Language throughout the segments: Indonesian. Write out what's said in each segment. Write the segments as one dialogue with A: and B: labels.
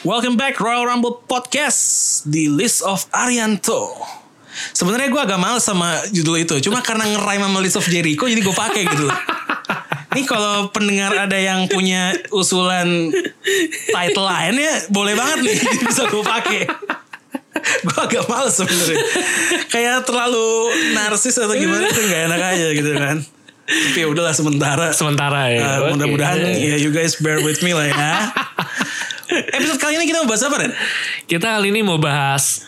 A: Welcome back Royal Rumble Podcast di list of Arianto. Sebenarnya gue agak males sama judul itu, cuma karena ngerai sama list of Jericho jadi gue pakai gitu. loh. Ini kalau pendengar ada yang punya usulan title lainnya boleh banget nih bisa gue pakai. Gue agak males sebenarnya. Kayak terlalu narsis atau gimana tuh nggak enak aja gitu kan. Tapi ya udahlah sementara.
B: Sementara ya.
A: Uh,
B: Oke.
A: mudah-mudahan ya you guys bear with me lah ya. Episode kali ini kita mau bahas apa Ren?
B: Kita kali ini mau bahas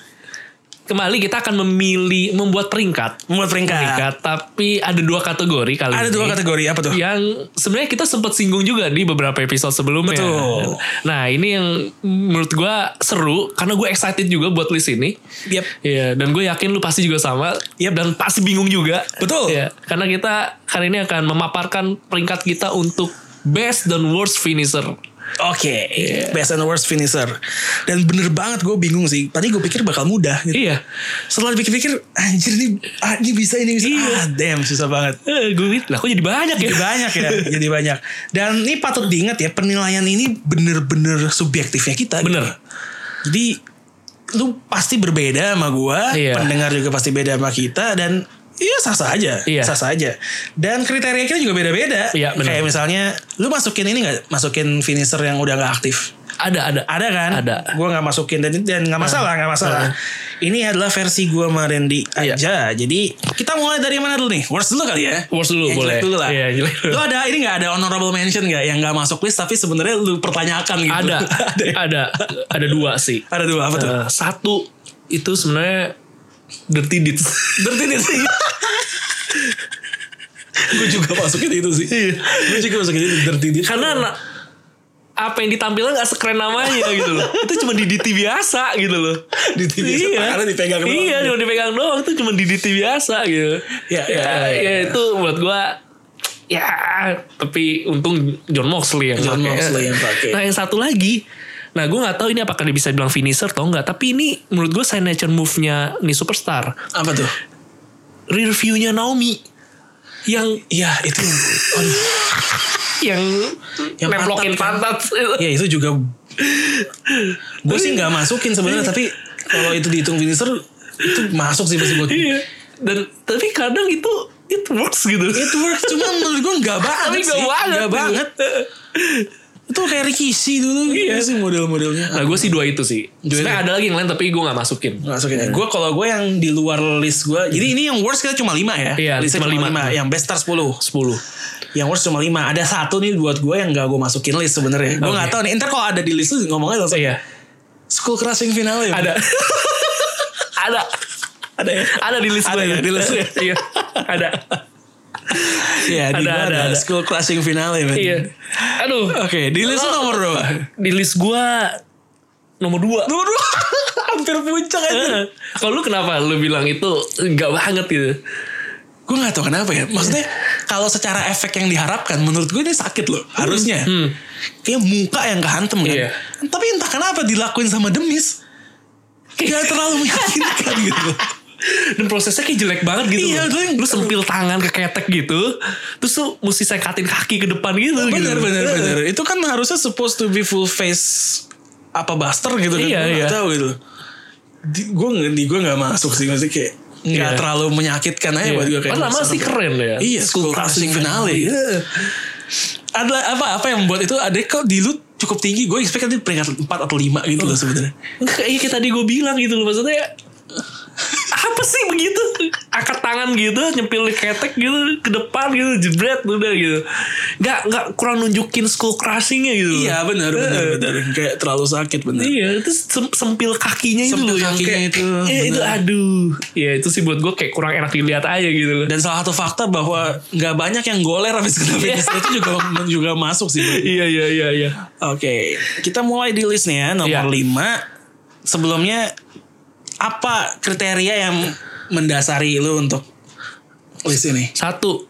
B: kembali kita akan memilih membuat peringkat.
A: Membuat peringkat.
B: Peringkat, Iya. tapi ada dua kategori kali
A: Iya. Ada
B: ini.
A: dua kategori apa tuh?
B: Yang sebenarnya kita sempat singgung juga di beberapa episode sebelumnya.
A: Betul.
B: Nah ini yang menurut gue seru karena gue excited juga buat list ini.
A: Yep.
B: Iya, dan gue yakin lu pasti juga sama.
A: Yap.
B: Dan pasti bingung juga.
A: Betul.
B: Iya, karena kita kali ini akan memaparkan peringkat kita untuk best dan worst finisher.
A: Oke.
B: Iya.
A: Best and worst finisher. Dan bener banget gue bingung sih. Tadi gue pikir bakal mudah gitu.
B: Iya.
A: Setelah dipikir-pikir, anjir ini, ah, ini bisa, ini bisa.
B: Iya.
A: Ah, damn susah banget.
B: Eh, gue liat, lah kok jadi banyak ya?
A: Jadi banyak ya, jadi banyak. Dan ini patut diingat ya, penilaian ini bener-bener subjektifnya kita. gitu.
B: Bener.
A: Jadi lu pasti berbeda sama gua,
B: Iya.
A: pendengar juga pasti beda sama kita dan Iya sah-sah aja,
B: Iya.
A: sah-sah aja. Dan kriteria kita juga beda-beda.
B: Iya, benar.
A: Kayak misalnya, lu masukin ini nggak? Masukin finisher yang udah nggak aktif?
B: Ada, ada.
A: Ada kan?
B: Ada. Nah.
A: Gue nggak masukin dan dan nggak masalah, nggak masalah. Ini adalah versi gue sama Randy
B: Iya.
A: aja. Jadi kita mulai dari mana dulu nih? Worst dulu kali ya?
B: Worst dulu,
A: Yang
B: boleh.
A: jelek dulu lah.
B: Iya, yang jelek dulu.
A: Lu ada ini nggak ada honorable mention nggak yang nggak masuk list tapi sebenarnya lu pertanyakan gitu?
B: Ada,
A: ada. ya?
B: ada, ada dua sih.
A: Ada dua apa tuh?
B: Eh, satu itu sebenarnya dirty deeds.
A: Dirty Deeds iya. Gue juga masukin itu sih Gue juga masukin itu Dirty kan Deeds
B: Karena na- apa yang ditampilkan gak sekeren namanya gitu loh. Itu cuma di DT biasa gitu loh.
A: Di TV
B: Iya.
A: Karena dipegang doang.
B: Iya, cuma dipegang doang. Itu cuma di DT biasa gitu.
A: Ya,
B: ya,
A: ya,
B: ya,
A: ya.
B: itu buat gua ya tapi untung John Moxley yang
A: John
B: pakai.
A: Moxley yang pakai.
B: Nah yang satu lagi, nah gue nggak tahu ini apakah dia bisa bilang finisher atau nggak, tapi ini menurut gue signature move-nya nih superstar,
A: Apa tuh?
B: rear view-nya Naomi yang
A: Iya itu Aduh.
B: yang,
A: Yang
B: nemplokin
A: pantat,
B: pantat.
A: Ya itu juga Gue sih gak masukin sebenarnya Tapi kalau itu dihitung finisher Itu masuk sih pasti buat gue.
B: Iya. Dan tapi kadang itu it works gitu.
A: It works Cuma menurut gue gak banget
B: Tapi
A: sih
B: gak banget.
A: Gak banget Itu kayak Rikishi dulu Iya sih model-modelnya
B: Nah gue sih dua itu sih.
A: Dua ya?
B: Sebenarnya ada lagi yang lain tapi gue nggak masukin.
A: masukin ya. Gue kalau gue yang di luar list gue, jadi ini yang worst kita cuma 5 ya.
B: Iya,
A: Listnya
B: cuma
A: cuma
B: lima.
A: 5. Yang best star 10.
B: Sepuluh.
A: Yang worst cuma 5. Ada satu nih buat gue yang gak gue masukin list sebenarnya. Gue
B: Oke.
A: gak tahu nih. Ntar kalau ada di list lu ngomongnya langsung.
B: Iya.
A: School crushing finale. ya?
B: Ada. ada.
A: Ada ya.
B: Ada di list
A: Ada
B: gue.
A: ya, di list lu ya?
B: iya. Ada.
A: Iya, di
B: Ada,
A: gua
B: ada,
A: ada,
B: ada.
A: School crushing finale. Man.
B: Iya. Aduh.
A: Oke, di list lu
B: Lo-
A: nomor berapa?
B: Di list gue nomor dua.
A: Nomor 2. Hampir puncak aja.
B: Eh, Kalau lu kenapa lu bilang itu nggak banget gitu?
A: Gue gak tau kenapa ya. Maksudnya kalau secara efek yang diharapkan menurut gue ini sakit loh. Harusnya. Kayak muka yang kehantem kan.
B: Hmm. Iya.
A: Tapi entah kenapa dilakuin sama demis. Gak terlalu meyakinkan gitu.
B: Dan prosesnya kayak jelek banget gitu.
A: Iya,
B: loh.
A: gue-
B: lu sempil tangan ke ketek gitu. Terus lu mesti sekatin kaki ke depan gitu.
A: Bener
B: gitu.
A: bener bener. Itu kan harusnya supposed to be full face apa buster gitu kan.
B: Iya,
A: Gue
B: iya.
A: gak tau gitu. Di, gue nggak- di gue gak masuk sih. Maksudnya kayak nggak
B: Iya.
A: terlalu menyakitkan aja
B: Iya.
A: buat gue kayak.
B: Padahal nama
A: buster.
B: sih keren ya.
A: Iya, school crushing finale. Iya. Ada apa apa yang membuat itu ada kok di lu cukup tinggi. Gue expect nanti peringkat 4 atau 5 gitu
B: Oh.
A: loh sebenarnya.
B: Enggak, iya kayak tadi gue bilang gitu loh maksudnya apa sih begitu angkat tangan gitu nyempil di ketek gitu ke depan gitu jebret udah gitu nggak nggak kurang nunjukin school crushingnya gitu loh.
A: Iya benar benar benar. Kayak terlalu sakit benar.
B: iya terus sem- sempil kakinya itu
A: Sempil
B: loh yang
A: kakinya
B: kayak,
A: itu,
B: eh, itu
A: bener.
B: aduh ya itu sih buat gue kayak kurang enak dilihat aja gitu loh
A: Dan salah satu fakta bahwa nggak banyak yang goler habis kena finish itu juga juga masuk sih.
B: iya iya iya iya
A: Oke, kita mulai di list nih ya
B: Iya.
A: nomor 5. Sebelumnya apa kriteria yang mendasari lu untuk list ini?
B: satu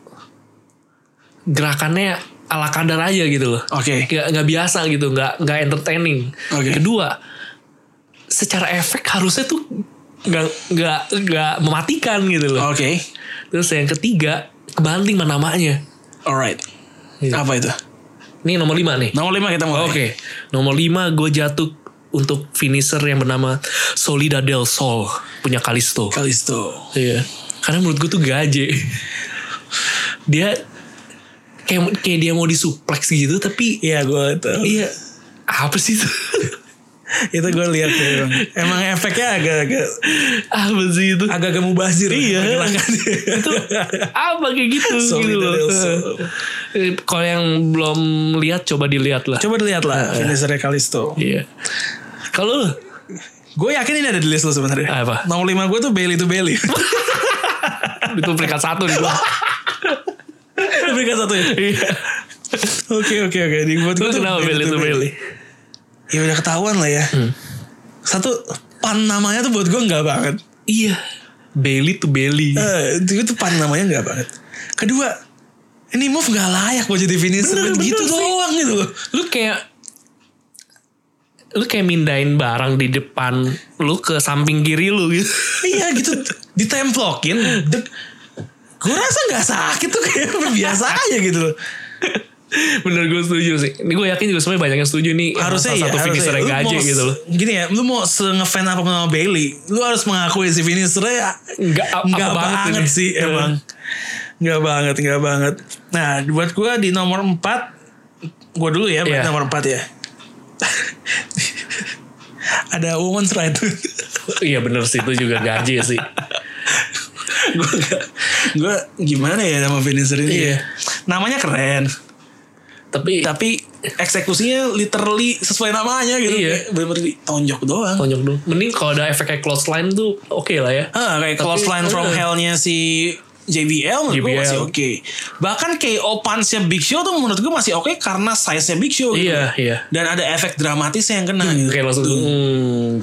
B: gerakannya ala kadar aja gitu loh
A: Oke.
B: nggak nggak biasa gitu nggak nggak entertaining
A: Oke.
B: kedua secara efek harusnya tuh nggak nggak nggak mematikan gitu loh
A: Oke.
B: terus yang ketiga kebanting sama namanya
A: Alright.
B: Iya.
A: Apa itu?
B: ini nomor lima nih
A: Nah. Nomor 5 kita mulai.
B: oke nomor lima gue jatuh untuk finisher yang bernama Solida del Sol punya Kalisto.
A: Kalisto.
B: Iya. Karena menurut gue tuh gaje. dia kayak kayak dia mau disuplex gitu tapi
A: Iya gue itu.
B: iya apa sih itu?
A: itu gue lihat ya, Bang. Emang efeknya agak-agak
B: apa sih itu?
A: agak-agak mubazir.
B: Iya.
A: Gerakannya.
B: itu apa kayak gitu
A: Solid
B: gitu loh.
A: Del Sol.
B: Eh, Kalau yang belum lihat coba dilihat lah.
A: Coba lihat lah finisher Kalisto.
B: Iya. Kalau lu
A: Gue yakin ini ada di list lo sebenarnya.
B: Apa?
A: 05 gue tuh belly to belly.
B: itu peringkat satu nih gua.
A: Berikan satu ya.
B: Iya.
A: Oke oke oke. Di buat
B: Lu
A: gue tuh
B: kenapa belly to belly?
A: Ya udah ketahuan lah ya.
B: Hmm.
A: Satu pan namanya tuh buat gue nggak banget.
B: Iya. Belly to belly.
A: Eh, itu tuh pan namanya nggak banget. Kedua, ini move nggak layak buat jadi finisher.
B: Bener, bener
A: gitu
B: sih.
A: doang gitu loh.
B: Lu kayak lu kayak mindahin barang di depan lu ke samping kiri lu gitu.
A: iya gitu ditemplokin gue rasa nggak sakit tuh kayak biasa aja gitu loh
B: Bener gue setuju sih. Ini gue yakin juga semuanya banyak yang setuju nih. emang
A: harusnya
B: salah
A: ya
B: satu
A: harusnya ya.
B: finisher yang
A: Lu
B: gaje
A: mau-
B: gitu loh.
A: gini ya lu mau se-ngefan apa sama Bailey lu harus mengakui si finishernya
B: Nggak apa
A: nggak
B: banget
A: banget,
B: ini.
A: sih
B: Eh.
A: emang nggak banget nggak banget nah buat gue di nomor 4 gue dulu ya buat
B: Iya.
A: nomor 4 ya ada woman's right
B: Iya bener sih itu juga gaje sih.
A: gue gue gimana ya nama finisher ini
B: Iya.
A: ya? Iya. namanya keren
B: Tapi
A: tapi eksekusinya literally sesuai namanya gitu
B: Iya.
A: Kayak bener-bener ditonjok doang
B: tonjok dulu. Mending kalau ada efek kayak close line tuh oke lah ya.
A: Hah, Ah, kayak
B: Tapi-
A: clothesline from
B: Iya.
A: hellnya si JBL menurut gue
B: JBL.
A: masih oke bahkan KO punch-nya Big Show tuh menurut gue masih oke karena size-nya Big Show gitu.
B: Iya, iya.
A: dan ada efek dramatisnya yang kena gitu.
B: Kayak langsung hmm,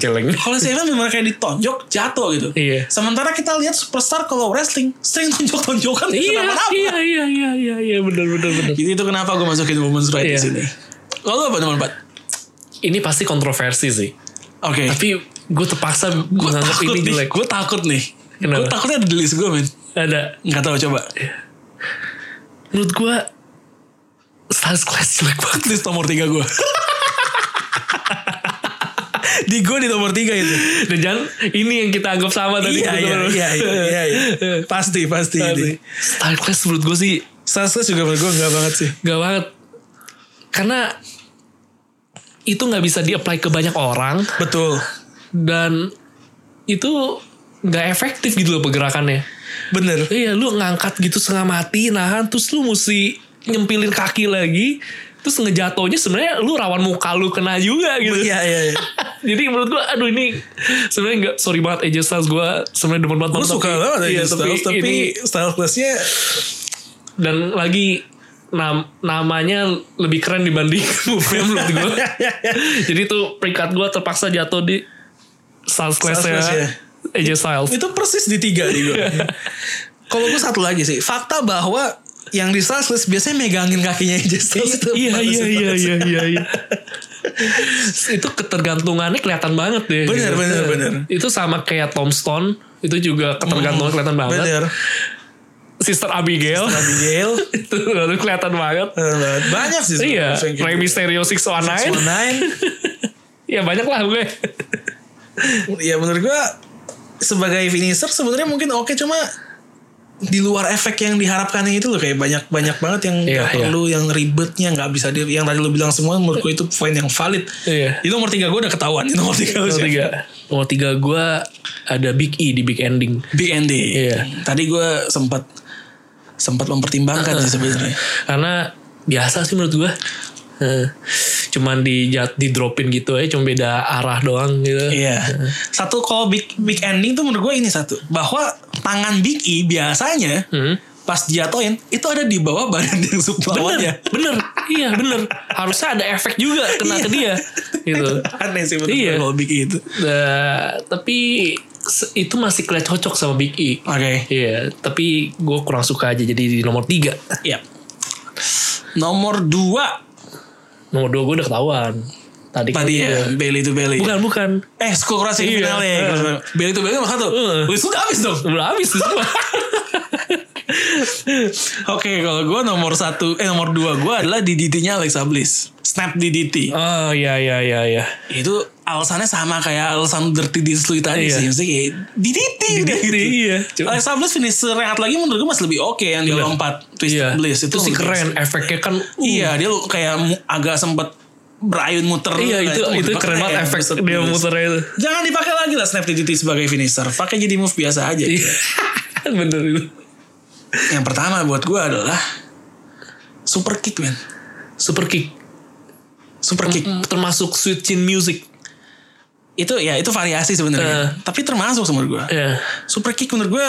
B: celeng.
A: kalau si Evan bener kayak ditonjok jatuh gitu
B: Iya.
A: sementara kita lihat superstar kalau wrestling sering tonjok-tonjokan
B: Iya,
A: kenapa-napa.
B: iya, iya, iya, iya, iya, bener, bener, bener.
A: jadi itu kenapa gue masukin women's right di
B: Iya.
A: sini lalu apa nomor 4
B: Ini pasti kontroversi sih.
A: oke
B: Tapi gue terpaksa
A: gue
B: menganggap
A: takut
B: ini
A: nih
B: jelek.
A: gue takut nih
B: Kenapa?
A: gue takutnya ada di list gue men
B: Ada.
A: nggak tahu coba
B: Menurut gue, size class jelek banget.
A: list nomor tiga gue di gue di nomor tiga itu
B: Dan jangan, ini yang kita anggap sama tadi.
A: iya iya iya iya, iya, iya. pasti pasti ini
B: Style class menurut gue sih
A: Saskia juga menurut gue nggak banget sih
B: Gak banget. Karena itu nggak bisa di-apply ke banyak orang
A: betul
B: dan itu nggak efektif gitu loh pergerakannya.
A: bener
B: Iya, lu ngangkat gitu setengah mati, nahan, terus lu mesti nyempilin kaki lagi, terus ngejatuhnya sebenarnya lu rawan muka lu kena juga gitu.
A: iya iya iya.
B: Jadi menurut gua, aduh ini sebenarnya nggak sorry banget AJ Styles gue sebenarnya demen banget.
A: gue
B: nonton,
A: suka
B: tapi-
A: banget
B: iya,
A: iya, tapi, tapi
B: ini
A: style classnya
B: dan lagi nam- namanya lebih keren dibanding movie menurut gue.
A: Iya,
B: Jadi itu peringkat gue terpaksa jatuh di Styles Clash ya.
A: Styles Clash, ya.
B: AJ Styles.
A: itu persis di tiga di gue Iya. kalau gue satu lagi sih fakta bahwa yang di style class biasanya megangin kakinya aja
B: Iya iya iya iya iya. iya. itu ketergantungannya kelihatan banget deh. gitu.
A: Bener, bener, bener. Hmm,
B: Itu sama kayak Tombstone itu juga ketergantungan kelihatan banget.
A: bener
B: Sister Abigail
A: Abigail
B: itu itu kelihatan banget.
A: banyak sih
B: Iya,
A: gitu.
B: Rey Mysterio 619.
A: oh Nine
B: Ya banyak lah gue.
A: ya menurut gua sebagai finisher sebenarnya mungkin oke cuma di luar efek yang diharapkannya itu loh kayak banyak banyak banget yang
B: Iya,
A: nggak
B: iya.
A: perlu yang ribetnya nggak bisa di yang tadi lo bilang semua menurut gue itu poin yang valid
B: Iya.
A: itu nomor tiga gue udah ketahuan itu nomor tiga, lu
B: Nomor
A: siapa?
B: tiga. Nomor tiga gue ada Big E di Big Ending.
A: big ending
B: Iya.
A: tadi gue sempat sempat mempertimbangkan sih sebenarnya
B: Karena biasa sih menurut gue. Eh, Cuman di, di dropin gitu aja. Cuma beda arah doang gitu.
A: Iya. Satu kalau big big ending tuh menurut gue ini satu bahwa tangan Big E biasanya
B: Hmm.
A: pas jatuhin itu ada di bawah badan yang
B: Bener,
A: lawannya.
B: bener. Iya bener. Harusnya ada efek juga kena ke dia. Gitu.
A: Aneh sih menurut
B: Iya.
A: gue kalau Big E itu.
B: Nah, tapi se- itu masih kelihatan cocok sama Big E.
A: Oke.
B: Iya, tapi gue kurang suka aja jadi di nomor tiga.
A: Iya. Nomor dua
B: Nomor dua gue udah ketahuan. Tadi,
A: tadi ya
B: kan udah-
A: belly to belly.
B: Bukan, bukan.
A: Eh school crossing
B: Iya.
A: finale.
B: Heeh.
A: Belly to belly nomor satu.
B: Heeh.
A: Wih, sudah habis dong.
B: Udah habis tuh semua.
A: Oke, kalau gue nomor satu, eh nomor dua gue adalah DDT-nya Alexa Bliss. Snap DDT.
B: Oh iya iya iya iya.
A: Itu alasannya sama kayak alasan Dirty Disley tadi
B: Iya.
A: sih. Maksudnya kayak DDT. udah
B: DDT,
A: gitu.
B: iya. Cuma-
A: Alexa Bliss finisher yang satu lagi menurut gue masih lebih oke yang dia
B: Bener.
A: lompat Twist Bliss.
B: Iya. Itu sih
A: menurut gua
B: keren efeknya kan. uh,
A: Iya, dia kayak mu- agak sempet berayun muter.
B: Iya
A: Nah,
B: itu
A: menurut
B: itu
A: gua
B: keren banget efek
A: Mr.
B: dia
A: Bliss.
B: muternya itu.
A: Jangan dipakai lagi lah Snap DDT sebagai finisher. Pakai jadi move biasa aja.
B: Iya. Bener itu.
A: Yang pertama buat gue adalah super kick man.
B: Super kick
A: Super kick.
B: termasuk sweet chin music.
A: Itu ya itu variasi
B: Eh.
A: sebenarnya. Tapi termasuk menurut gue.
B: Iya.
A: Super kick menurut gue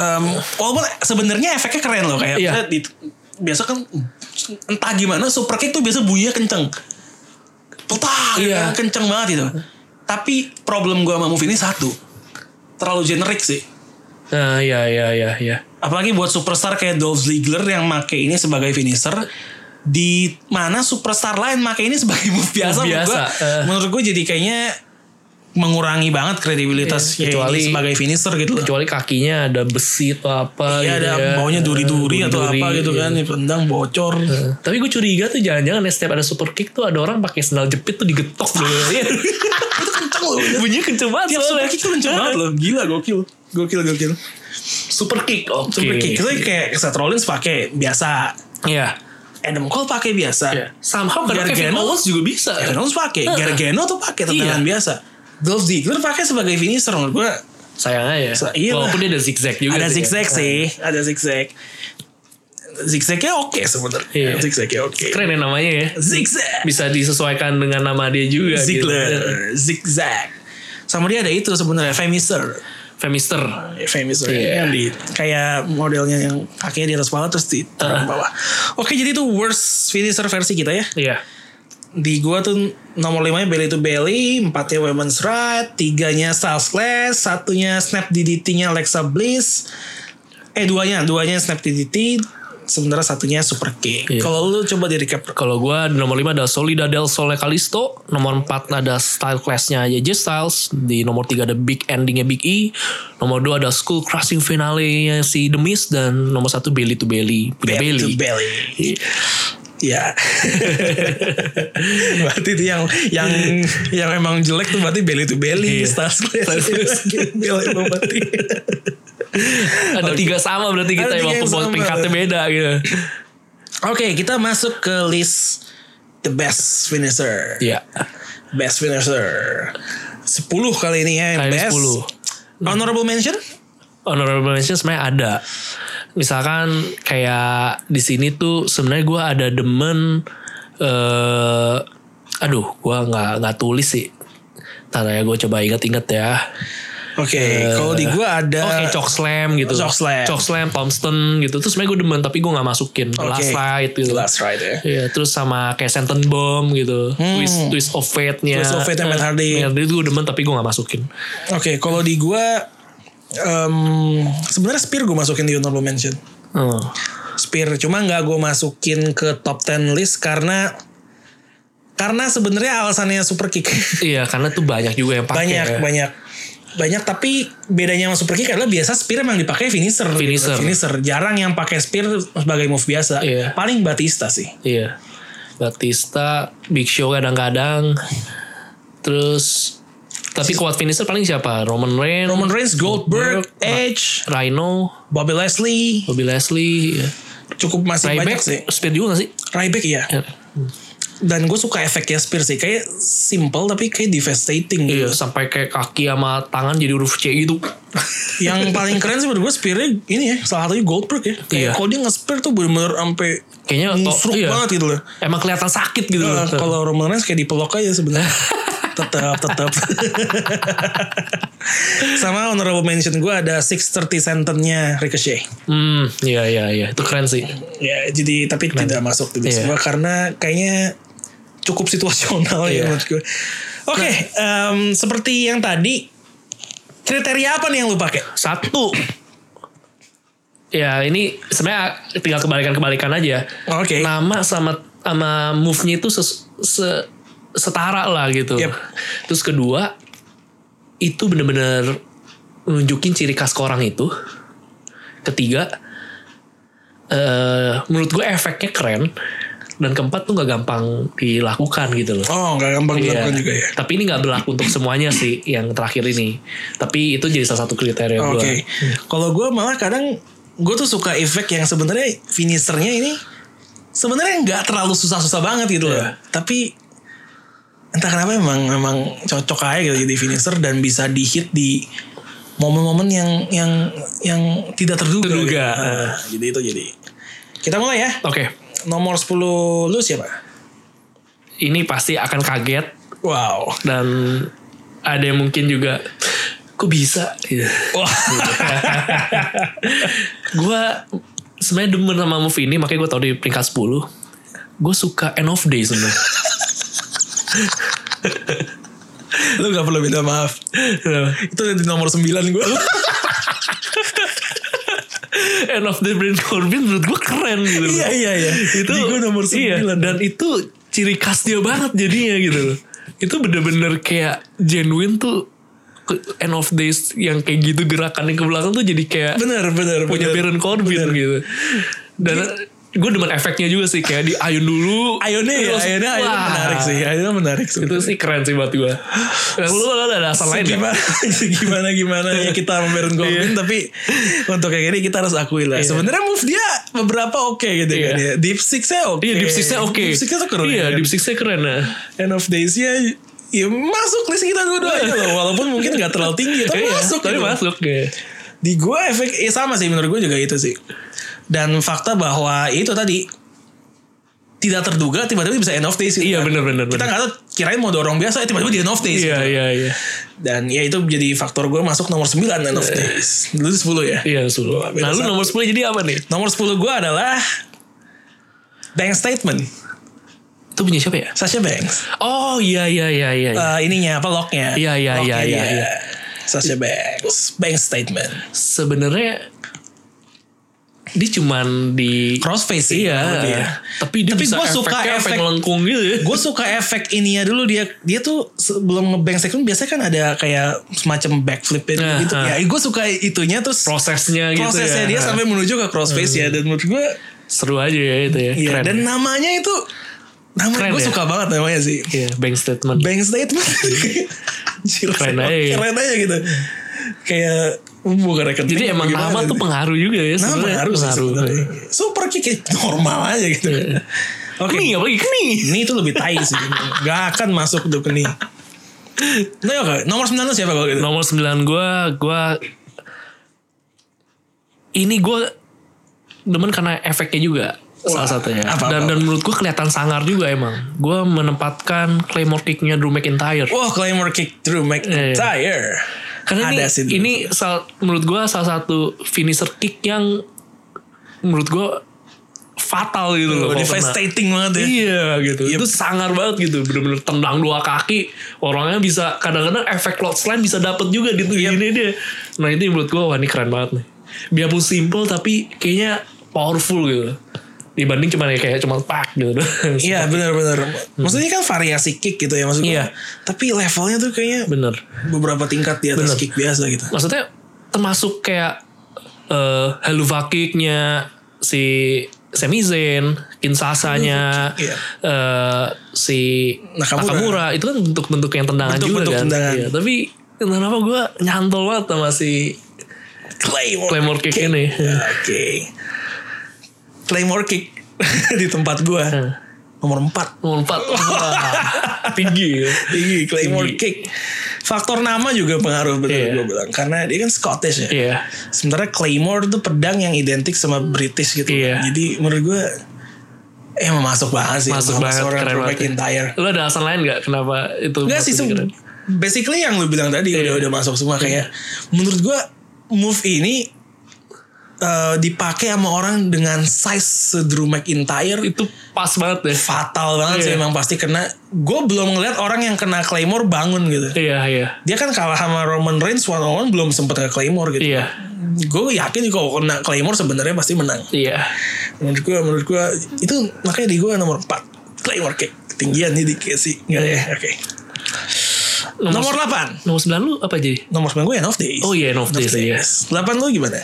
A: em, walaupun sebenarnya efeknya keren loh kayak
B: Iya.
A: misalnya di- biasa kan entah gimana super kick tuh biasa bunyinya kenceng. Petak gitu
B: Iya.
A: kan, kenceng banget gitu. Tapi problem gue sama move ini satu. Terlalu generik sih.
B: Nah, iya iya iya iya.
A: Apalagi buat superstar kayak Dolph Ziggler yang make ini sebagai finisher di mana superstar lain make ini sebagai move biasa,
B: Move
A: menurut
B: biasa,
A: gua.
B: eh.
A: Menurut gue jadi kayaknya mengurangi banget kredibilitas ya,
B: Iya, kecuali-
A: ini sebagai finisher gitu loh.
B: Kecuali kakinya ada besi atau apa gitu ya. Ah,
A: Iya ada baunya duri-duri atau apa gitu kan,
B: iya.
A: tendang bocor.
B: Tapi gue curiga tuh jangan-jangan ya setiap ada super kick tuh ada orang pakai sandal jepit tuh digetok dulu. Iya.
A: Itu kenceng loh. udah.
B: Bunyinya kenceng banget
A: Tiap super
B: Iya, soalnya. Ah.
A: kick tuh kenceng banget loh, gila gokil. Gokil gokil.
B: Super kick. Oke.
A: Super kick gitu. itu kayak Seth Rollins pakai biasa.
B: Iya.
A: Adam Cole pakai biasa.
B: Iya. Somehow kadang Kevin
A: Nah, Gargano-
B: Owens juga bisa.
A: Gargano harus pakai. Gargano tuh pakai tendangan
B: Iya.
A: biasa. Dolph Ziggler pakai sebagai finisher menurut gue.
B: Sayang aja.
A: Sa- iya lah.
B: Walaupun dia ada zigzag juga.
A: Ada
B: sih, ya.
A: zigzag sih, ada zigzag. Zigzagnya oke sebenarnya.
B: Iya.
A: Zigzagnya oke.
B: Keren ya namanya ya.
A: Zigzag.
B: Bisa disesuaikan dengan nama dia juga. gitu.
A: Ziggler, zigzag. Sama dia ada itu sebenarnya Femister.
B: Femister.
A: Femister
B: Iya.
A: yang di kayak modelnya yang kakinya di atas kepala terus di taruh
B: Ah.
A: ke bawah. Oke, jadi itu worst finisher versi kita ya.
B: Iya.
A: di gua tuh nomor limanya belly to belly, empatnya women's right, tiganya style slash, satunya snap DDT-nya Alexa Bliss, eh duanya, duanya snap DDT, sementara satunya super kick.
B: Iya.
A: Kalau lu coba di recap
B: Kalau gue di nomor 5 ada Solida del Sole Kalisto. Nomor 4 ada Style Class-nya AJ Styles. Di nomor 3 ada Big Ending-nya Big E. Nomor 2 ada School Crushing Finale-nya si The Miz. Dan nomor 1 Belly to Belly. Punya
A: belly to
B: Belly. Iya.
A: belly. Ya. berarti itu yang yang yang emang jelek tuh berarti belly to belly,
B: Iya.
A: style slash, belly to belly.
B: Ada tiga sama berarti kita
A: Ada tiga
B: emang
A: yang
B: pembuat
A: sama.
B: peringkatnya beda gitu.
A: Oke, kita masuk ke list the best finisher.
B: Iya.
A: Best finisher 10 kali ini ya yang
B: Kali ini
A: best
B: 10.
A: Honorable mention
B: Honorable mention sebenarnya ada. Misalkan kayak di sini tuh sebenarnya gue ada demen eh aduh gue nggak nggak tulis sih. Ntar ya gue coba inget-inget ya.
A: Oke Kalau di gua ada
B: Eh, Oke, Cok Oh, Slam gitu.
A: Chok Ya. Slam.
B: Chok Slam, Thompson gitu. Terus sebenarnya gue demen tapi gue gak masukin.
A: Oke.
B: Last Light gitu.
A: Last Ride ya
B: Iya, terus sama kayak Senten Bomb gitu. Twist, twist of Fate-nya.
A: Hmm. Twist of Fate-nya Matt Hardy.
B: Matt Hardy gue demen tapi gue gak masukin.
A: Oke kalau di gua em, sebenarnya Spear gua masukin di honorable mention
B: Hmm.
A: Spear cuma nggak gua masukin ke top 10 list karena karena sebenarnya alasannya super kick
B: Iya, karena tuh banyak juga yang pakai.
A: banyak
B: ya.
A: banyak banyak tapi bedanya sama super kick adalah biasa spear emang dipakai finisher
B: Finisher.
A: jarang yang pakai spear sebagai move biasa
B: Iya.
A: paling Batista sih
B: Iya. Batista, Big Show kadang-kadang. Terus tapi kuat finisher paling siapa? Roman Reigns,
A: Roman Reigns, Goldberg,
B: Goldberg,
A: Edge,
B: Rhino,
A: Bobby Leslie,
B: Bobby Leslie, ya.
A: cukup masih banyak
B: Ryback, Iya.
A: sih.
B: Spear juga gak sih?
A: Ryback ya. Dan gue suka efeknya Spear sih, kayak simple tapi kayak devastating
B: Iya,
A: gitu.
B: sampai kayak kaki sama tangan jadi huruf C gitu.
A: Yang paling keren sih menurut gue Spearnya ini ya, salah satunya Goldberg ya. Kayak
B: Iya.
A: kalau dia nge-Spear tuh bener-bener sampai
B: Kayaknya to-
A: nusruk
B: iya.
A: banget gitu loh.
B: Emang kelihatan sakit gitu.
A: Nah,
B: loh.
A: kalau Roman Reigns kayak dipelok aja sebenarnya. tetap, tetap. Sama honorable mention gue ada 630 sentennya Ricochet.
B: Hmm, iya iya iya, itu keren sih.
A: Ya, jadi tapi tidak masuk di list
B: Iya.
A: gua karena kayaknya cukup situasional ya
B: Iya. Nah.
A: menurut gue. Oke, em, seperti yang tadi kriteria apa nih yang lu pakai?
B: Satu. ya, ini sebenarnya tinggal kebalikan-kebalikan aja.
A: Oke.
B: Nama sama sama move-nya itu ses- se- setara lah gitu.
A: Yep.
B: Terus kedua, itu bener-bener nunjukin ciri khas ke orang itu. Ketiga, eh, menurut gue efeknya keren dan keempat tuh nggak gampang dilakukan gitu loh.
A: Oh, nggak gampang
B: Iya.
A: dilakukan juga ya.
B: Tapi ini nggak berlaku untuk semuanya sih yang terakhir ini. Tapi itu jadi salah satu kriteria
A: Oh, Oke.
B: gue.
A: Kalau gue malah kadang gue tuh suka efek yang sebenarnya finishernya ini sebenarnya nggak terlalu susah-susah banget gitu loh.
B: Iya.
A: Tapi entah kenapa emang emang cocok aja gitu jadi finisher dan bisa dihit di momen-momen yang yang yang tidak terduga.
B: Terduga,
A: gitu.
B: eh.
A: Nah, jadi itu jadi. Kita mulai ya.
B: Oke,
A: Nomor 10 lu siapa?
B: ini pasti akan kaget
A: Wow.
B: dan ada yang mungkin juga kok bisa. Gitu.
A: Wah.
B: gue sebenarnya demen sama movie ini makanya gue tau di peringkat 10 gue suka End of Day sebenarnya
A: lu gak perlu minta maaf.
B: Iya.
A: Itu di nomor 9 gue.
B: End of Day Brand Corbin menurut gue keren gitu
A: iya iya iya.
B: itu
A: di gue nomor 9.
B: iya, dan itu ciri khas dia banget jadinya gitu loh itu bener-bener kayak genuine tuh ke- End of Days yang kayak gitu gerakannya ke belakang tuh jadi kayak
A: Bener bener
B: punya
A: bener.
B: Baron Corbin gitu dan gue demen efeknya juga sih kayak di ayun dulu
A: Ayonnya ya,
B: terus,
A: ayonnya, ayonnya
B: wah.
A: menarik sih. Ayonnya menarik sih.
B: itu sih keren sih buat gue lu lu ada alasan lain ya? Iya. gak?
A: Gimana, gimana gimana ya kita sama Baron Corbin tapi untuk yang ini kita harus akui lah. Sebenarnya move dia beberapa oke gitu
B: Iya.
A: kan ya. Deep Six-nya oke.
B: Iya, Deep Six-nya oke.
A: Deep Six-nya tuh keren.
B: Iya,
A: kan?
B: Deep Six-nya keren. Nah.
A: End of Days-nya ya masuk list kita dua-duanya loh. Walaupun mungkin gak terlalu tinggi tapi
B: Iya,
A: masuk.
B: Tapi
A: gitu.
B: masuk. Iya.
A: Di gue efek ya sama sih menurut gue juga itu sih. Dan fakta bahwa itu tadi tidak terduga tiba-tiba bisa end of days gitu
B: Iya,
A: kan.
B: bener-bener.
A: kita nggak tahu kirain mau dorong biasa eh, tiba-tiba di end of days
B: Iya,
A: gitu.
B: iya, iya.
A: Dan ya itu jadi faktor gue masuk nomor 9 End of Days. Dulu 10 ya.
B: Iya, Sul.
A: Wah, beda
B: Nah, lu
A: satu.
B: nomor 10 jadi apa nih?
A: Nomor 10 gue adalah Bank Statement.
B: Itu punya siapa ya?
A: Sasha Banks.
B: Oh, iya, iya, iya, iya. iya.
A: Eh, ininya apa locknya?
B: Iya, iya,
A: Locknya
B: iya, iya,
A: dia.
B: iya.
A: Sasha Banks. Bank Statement.
B: Sebenarnya dia cuman di
A: Crossface sih.
B: Iya,
A: menurut dia.
B: tapi dia
A: Tapi
B: bisa
A: gua suka
B: efeknya efek
A: efek-
B: melengkung gitu. ya.
A: Gue suka efek ininya dulu dia dia tuh sebelum ngebank statement biasanya kan ada kayak semacam backflip
B: Nah,
A: gitu. Ya,
B: ah.
A: gue suka itunya terus
B: Prosesnya gitu
A: prosesnya
B: ya. Hmm.
A: dia sampai menuju ke crossface ya dan menurut gue
B: Seru aja ya itu ya.
A: Iya,
B: keren.
A: dan namanya itu nama
B: Keren
A: gue
B: ya?
A: suka banget namanya sih.
B: Iya, bank statement.
A: Bank statement. Anjir,
B: Keren aja ya.
A: Keren aja gitu. Kayak bukan rekening.
B: Jadi emang
A: gimana
B: nama
A: gitu.
B: tuh pengaruh juga ya
A: Nama
B: sebenarnya. iya.
A: pengaruh sih sebenarnya. Super kick ya, normal aja gitu. Oke.
B: Kening apalagi kening.
A: Ini itu lebih tai sih. Gak akan masuk tuh ini. Nah, oke. Nomor 9 lu siapa kalau gitu?
B: Nomor 9 gue Gue Ini gue Demen karena efeknya juga Salah satunya
A: apa-apa.
B: dan, dan menurut gue kelihatan sangar juga emang Gue menempatkan Claymore kicknya Drew McIntyre
A: Wah, Claymore kick through
B: Iya,
A: McIntyre.
B: Karena ini
A: ada sih dulu.
B: Ini sal- menurut gue salah satu Finisher kick yang Menurut gue Fatal gitu
A: Oh,
B: loh kalau kena.
A: devastating banget ya.
B: Iya gitu
A: Yep.
B: Itu sangar banget gitu Bener-bener tendang dua kaki Orangnya bisa Kadang-kadang efek lot slime Bisa dapet juga di ini dia Nah itu yang menurut gue Wah ini keren banget nih Biarpun simple Tapi kayaknya Powerful gitu Dibanding cuma kayak Cuma pak gitu
A: Iya benar-benar. Maksudnya kan variasi kick gitu ya maksudnya.
B: Iya.
A: Tapi levelnya tuh kayaknya
B: Bener
A: beberapa tingkat di atas
B: Bener.
A: kick biasa gitu.
B: Maksudnya Termasuk kayak eh Helluva kicknya Si Sami Zayn Kinsasanya
A: Helluva Kick, iya.
B: eh, Si
A: Nakamura.
B: Nakamura. Itu kan bentuk-bentuk yang tendangan juga
A: Bentuk-bentuk
B: kan
A: tendangan.
B: Iya, Tapi Kenapa gue nyantol banget sama si
A: Claymore,
B: Claymore kick ini.
A: Ya, Oke. Claymore kick di tempat gua
B: Hmm.
A: nomor 4
B: Nomor empat. Wah, Tinggi ya.
A: Tinggi Claymore
B: Tinggi.
A: kick. Faktor nama juga pengaruh bener
B: Iya.
A: gua bilang karena dia kan Scottish ya.
B: Iya.
A: Sementara Claymore tuh pedang yang identik sama British gitu.
B: Iya.
A: Jadi menurut gua eh emang masuk banget sih
B: Masuk
A: sama
B: banget
A: seorang
B: keren
A: Drew
B: banget.
A: McIntyre.
B: Lu ada alasan lain gak kenapa itu?
A: Enggak
B: masuk
A: sih,
B: di
A: sem-
B: keren?
A: basically yang lu bilang tadi
B: Iya.
A: udah udah masuk semua kayak menurut gua move ini eh, dipakai sama orang dengan size Drew McIntyre
B: Itu pas banget deh.
A: fatal banget sih
B: Iya.
A: emang pasti kena. Gue belum ngeliat orang yang kena Claymore bangun gitu.
B: Iya, iya.
A: Dia kan kalah sama Roman Reigns one on one belum sempet ke Claymore gitu.
B: Iya.
A: Gue yakin kalau kena Claymore sebenarnya pasti menang.
B: Iya.
A: Menurut gue, menurut gue itu makanya di gue nomor 4 Claymore kick ketinggian nih di sih nggak ya oke nomor 8
B: Iya. Nomor 9 lu apa jadi?
A: ya, nomor 9 gue End of Days
B: Oh iya, End of Days, iya.
A: 8 lu gimana?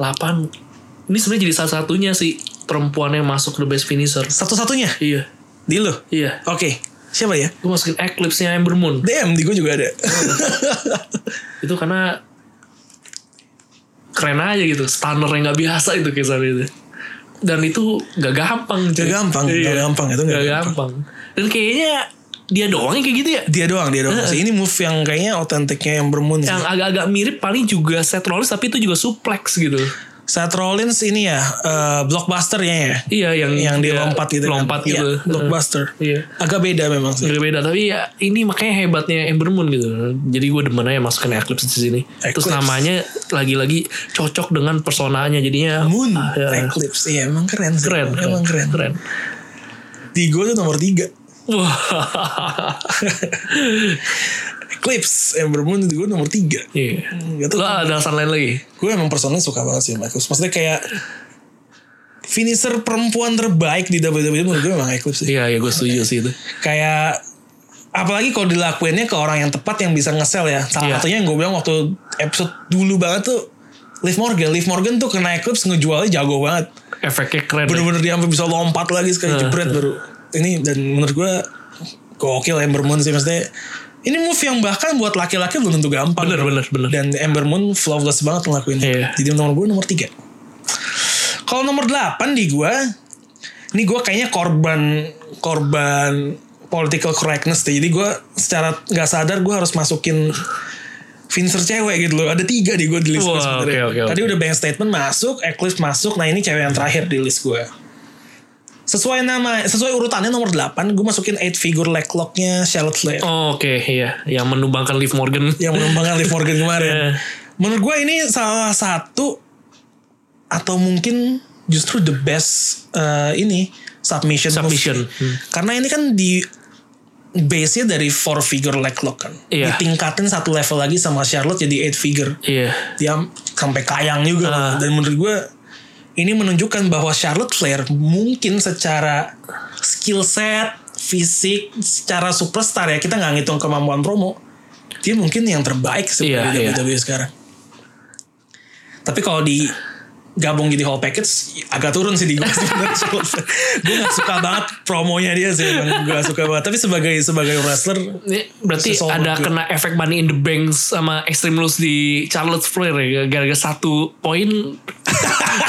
B: 8 ini sebenarnya jadi salah satunya sih perempuan yang masuk the best finisher
A: Satu-satunya
B: iya
A: di lu.
B: iya
A: Oke, siapa ya?
B: gue masukin Eclipse nya Ember Moon
A: DM di gue juga ada.
B: itu karena keren aja gitu stunner yang nggak biasa itu kisar itu dan itu gak gampang
A: Gak
B: cuy.
A: gampang, gak gampang, itu gak
B: Gak gampang. dan kayaknya dia doang yang kayak gitu ya
A: dia doang, dia doang. sih. Ini move yang kayaknya otentiknya yang bermun.
B: yang
A: sih.
B: agak-agak mirip paling juga set Rollins tapi itu juga suplex gitu
A: Seth Rollins ini ya eh, blockbuster ya, ya.
B: iya yang
A: yang
B: dia
A: dilompat gitu. kan.
B: lompat
A: Iya,
B: gitu
A: blockbuster.
B: iya
A: Agak beda memang sih.
B: Agak beda tapi ya ini makanya hebatnya Ember Moon gitu. Jadi gue demen aja masukin Eclipse di sini. Terus
A: Eclipse.
B: namanya lagi-lagi cocok dengan personanya jadinya
A: Moon
B: ah, ya.
A: Eclipse, iya emang keren sih.
B: keren, keren,
A: emang keren.
B: keren.
A: Di gue tuh nomor tiga.
B: Wah.
A: Eclipse, Ember Moon di gue nomor tiga.
B: Iya.
A: Gak tau
B: Lo ada alasan lain lagi?
A: gue emang personalnya suka banget sih sama Eclipse. Maksudnya kayak finisher perempuan terbaik di WWE menurut gue emang Eclipse sih.
B: Iya, ya gue setuju sih itu.
A: Kayak apalagi kalau dilakuinnya ke orang yang tepat yang bisa ngesel ya. Salah
B: Iya.
A: satunya yang gue bilang waktu episode dulu banget tuh Liv Morgan, Liv Morgan tuh kena Eclipse ngejualnya jago banget.
B: Efeknya keren. Nah,
A: Bener-bener dia sampai bisa lompat lagi sekali jebret baru. Ini dan menurut gue gokil Ember Moon sih maksudnya. Ini move yang bahkan buat laki-laki belum tentu gampang.
B: Bener, bener, bener.
A: Dan Ember Moon flawless banget ngelakuinnya.
B: Iya.
A: Jadi nomor gue nomor 3. Kalau nomor 8 di gue. Ini gue kayaknya korban korban political correctness deh. Jadi gue secara nggak sadar gue harus masukin Vincer cewek gitu loh. Ada tiga di gue di list gue
B: Wah,
A: sebenarnya.
B: oke, oke,
A: Tadi udah banyak statement masuk, Eclipse masuk. Nah ini cewek yang terakhir di list gue. Sesuai nama, sesuai urutannya nomor 8, gue masukin 8 figure leg locknya Charlotte Flair
B: Oh, Oke, iya. Yang menumbangkan Liv Morgan.
A: yang mengembangkan Liv Morgan kemarin.
B: Iya.
A: Menurut gue ini salah satu atau mungkin justru the best eh, ini submission. move.
B: Submission, hmm.
A: Karena ini kan di base-nya dari four figure leg lock kan.
B: Iya.
A: Ditingkatin satu level lagi sama Charlotte jadi eight figure.
B: Iya.
A: Dia sampai kayang juga.
B: Ah.
A: Dan menurut gue ini menunjukkan bahwa Charlotte Flair mungkin secara skill set, fisik, secara superstar ya kita nggak ngitung kemampuan promo, dia mungkin yang terbaik sih
B: Iya,
A: di
B: iya.
A: WWE sekarang. Tapi kalau di gabung jadi whole package agak turun sih di gue gue gak suka banget promonya dia sih emang gue suka banget tapi sebagai sebagai wrestler
B: Ini Berarti
A: Sesuatu
B: ada
A: juga.
B: kena efek Money in the Bank sama Extreme Rules di Charlotte Flair ya. Gara-gara satu poin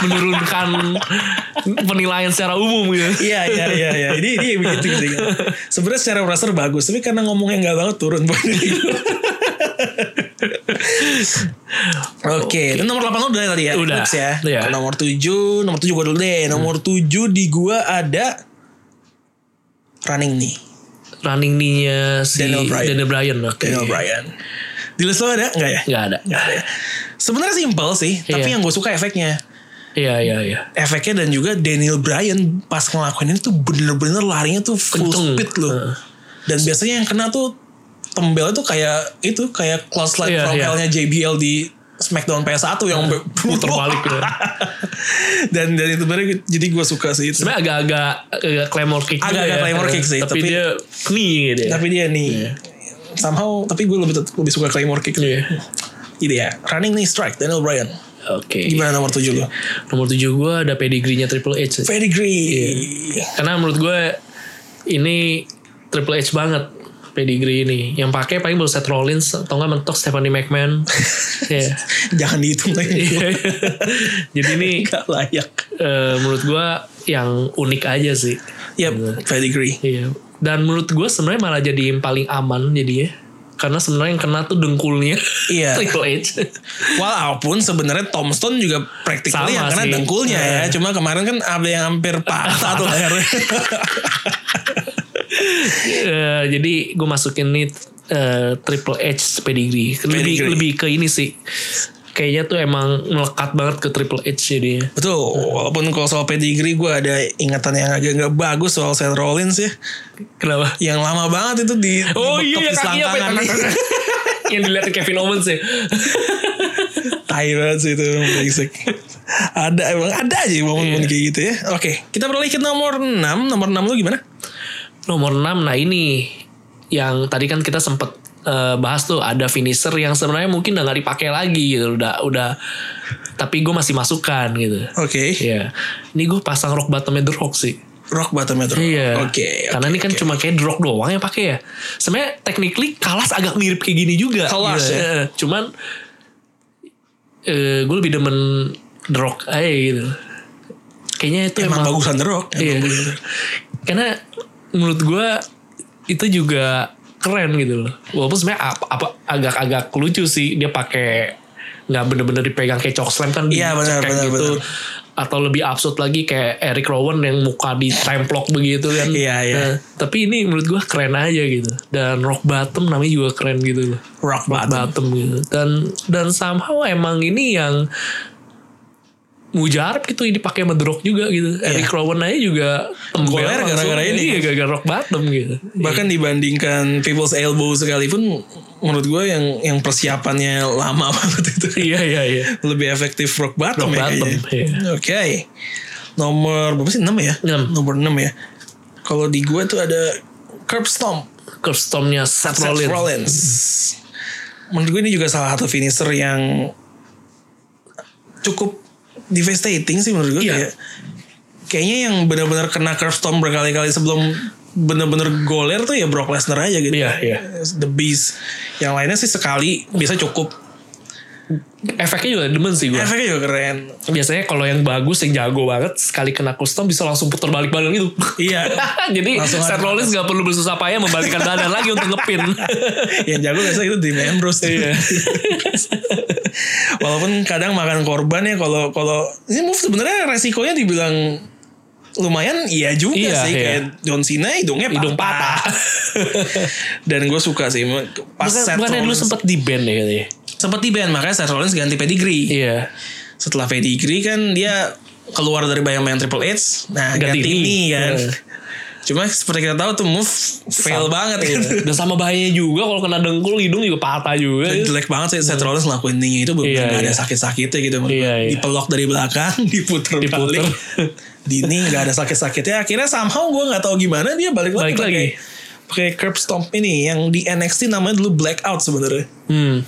B: menurunkan penilaian secara umum gitu.
A: Iya iya iya iya. Ini ini begitu sih. Sebenarnya secara wrestler bagus, tapi karena ngomongnya nggak banget turun poin ini. Oke, itu nomor 8 udah tadi ya.
B: Udah.
A: Eclipse ya.
B: Iya. Hmm.
A: Nomor 7, nomor 7 gue dulu deh. Nomor 7 di gua ada Running Knee,
B: Running knee-nya si
A: Daniel
B: Daniel
A: Bryan.
B: Bryan. oke.
A: Daniel Bryan. Di list lo ada nggak ya?
B: Nggak ada.
A: Nggak ada ya. Sebenarnya simpel sih, tapi
B: Iya.
A: yang gue suka efeknya.
B: Iya, iya, iya.
A: efeknya dan juga Daniel Bryan pas ngelakuin ini tuh bener-bener larinya tuh full
B: Kenceng.
A: speed loh.
B: Heeh.
A: Dan biasanya yang kena tuh tembelnya tuh kayak itu kayak close line
B: Iya,
A: from
B: iya.
A: hellnya JBL di SmackDown PS1 yang
B: Puter balik gitu.
A: dan dari itu bener jadi gue suka sih itu.
B: Sebenarnya agak-agak agak claymore kick. juga
A: Agak-agak
B: ya.
A: claymore kick sih,
B: Tapi,
A: tapi-
B: dia knee gitu ya.
A: Iya. Tapi dia nih somehow tapi gue lebih lebih suka Claymore kick.
B: Iya.
A: Gitu ya. Running knee strike Daniel Bryan.
B: Oke.
A: Gimana nomor 7 lu?
B: Iya. Nomor 7 gue ada pedigree-nya Triple H.
A: Pedigree.
B: Karena menurut gue ini Triple H banget pedigree ini. Yang pakai paling baru Seth Rollins atau nggak mentok Stephanie McMahon. Iya.
A: Jangan dihitung lagi.
B: Iya. Jadi ini
A: Gak layak.
B: eh, menurut gue yang unik aja sih.
A: Yap, pedigree.
B: Iya. Dan menurut gue sebenarnya malah jadi yang paling aman jadinya. Karena sebenarnya yang kena tuh dengkulnya
A: Iya.
B: Triple H.
A: Walaupun sebenarnya Tombstone juga praktiknya
B: Sama
A: yang kena
B: sih. Iya.
A: dengkulnya ya. Cuma kemarin kan ada yang hampir patah tuh lehernya.
B: Eh, jadi gue masukin nih eh, Triple H pedigree. Lebih
A: Pedigree.
B: lebih ke ini sih. Kayaknya tuh emang melekat banget ke Triple H jadinya.
A: Betul. Walaupun kalau soal pedigree gue ada ingatan yang agak nggak bagus soal Seth Rollins ya.
B: Kenapa?
A: Yang lama banget itu di
B: Oh
A: dibetok di
B: iya kakinya apa
A: selangkangan.
B: yang dilihat Kevin Owens ya.
A: Tai banget sih itu brengsek. ada emang ada aja momen-momen
B: Iya.
A: kayak gitu ya. Oke, kita beralih ke nomor 6. Nomor 6 lu gimana?
B: Nomor 6 nah ini yang tadi kan kita sempet eh, bahas tuh ada finisher yang sebenarnya mungkin udah nggak dipakai lagi gitu udah udah tapi gue masih masukkan gitu
A: Oke.
B: Iya. Ini gue pasang rock bottomnya The Rock sih.
A: Rock bottom metro.
B: Iya.
A: Oke. oke,
B: Karena ini kan
A: oke.
B: cuma kayak The Rock doang yang pakai ya. Sebenarnya technically kalas agak mirip kayak gini juga.
A: Kalas ya?
B: Iya. Cuman eh gue lebih demen The Rock aja gitu. Kayaknya itu
A: emang
B: emang,
A: bagusan The Rock.
B: Iya. Karena menurut gue itu juga keren gitu loh. Walaupun sebenarnya apa, apa agak-agak lucu sih dia pakai nggak bener-bener dipegang kayak cok slam kan
A: Iya, benar,
B: dicekek
A: benar,
B: gitu.
A: benar.
B: Atau lebih absurd lagi kayak Eric Rowan yang muka ditemplok begitu kan.
A: Iya, iya.
B: Nah, tapi ini menurut gue keren aja gitu. Dan rock bottom namanya juga keren gitu loh.
A: Rock
B: Rock
A: bottom.
B: bottom gitu. Dan dan somehow emang ini yang mujarab gitu ini pakai sama The Rock juga gitu. Eric Rowan aja juga tembel
A: Golnya Iya.
B: langsung.
A: gara-gara ini.
B: Iya, gara-gara rock bottom gitu.
A: Bahkan dibandingkan People's Elbow sekalipun menurut gue yang yang persiapannya lama banget itu.
B: iya, iya, iya.
A: Lebih efektif rock bottom
B: Rock
A: ya
B: bottom,
A: kayaknya.
B: iya.
A: Oke. Nomor berapa sih? 6 ya?
B: Enam.
A: Nomor 6 ya. Kalau di gue tuh ada Curb Stomp.
B: Curve Storm-nya Seth,
A: Seth Rollins.
B: Rollins.
A: Menurut gue ini juga salah satu finisher yang cukup devastating sih menurut gue.
B: Iya.
A: Kayak, kayaknya yang benar-benar kena curve storm berkali-kali sebelum bener-bener goler tuh ya Brock Lesnar aja gitu.
B: Iya, iya.
A: The Beast. Yang lainnya sih sekali bisa cukup.
B: Efeknya juga demen sih gue.
A: Efeknya juga keren.
B: Biasanya kalau yang bagus, yang jago banget, sekali kena custom bisa langsung putar balik badan gitu.
A: Iya.
B: Jadi
A: Langsung
B: Seth
A: ada-
B: Rollins gak perlu bersusah payah membalikkan badan lagi untuk ngepin.
A: yang jago biasanya itu Dean Ambrose.
B: Iya.
A: Walaupun kadang makan korban ya kalau kalau ini move sebenarnya resikonya dibilang lumayan iya juga
B: Iya,
A: sih
B: iya.
A: kayak John Cena hidungnya patah.
B: Hidung patah.
A: Dan gue suka sih pas
B: Bukan,
A: Seth
B: bukannya dulu
A: Rollins Iya.
B: sempet di band ya katanya.
A: sempet di band makanya Seth Rollins ganti pedigree.
B: Iya.
A: Setelah pedigree kan dia keluar dari bayang-bayang Triple H. Nah ganti,
B: Ganti
A: ini,
B: ini.
A: kan.
B: Iya.
A: Cuma seperti kita tahu tuh move fail
B: Sama-
A: banget
B: Iya.
A: gitu.
B: Dan sama bahayanya juga kalau kena dengkul hidung juga patah juga. ya.
A: Dan jelek banget sih Seth Rollins ngelakuin ininya itu bener
B: Iya,
A: gak ada
B: iya.
A: sakit-sakitnya gitu
B: Iya, iya.
A: dipelok dari belakang diputer
B: Diputer.
A: balik Dini gak ada sakit-sakitnya akhirnya somehow gue gak tahu gimana dia balik,
B: Balik
A: pakai- pakai curb stomp ini yang di NXT namanya dulu blackout sebenarnya
B: Hmm.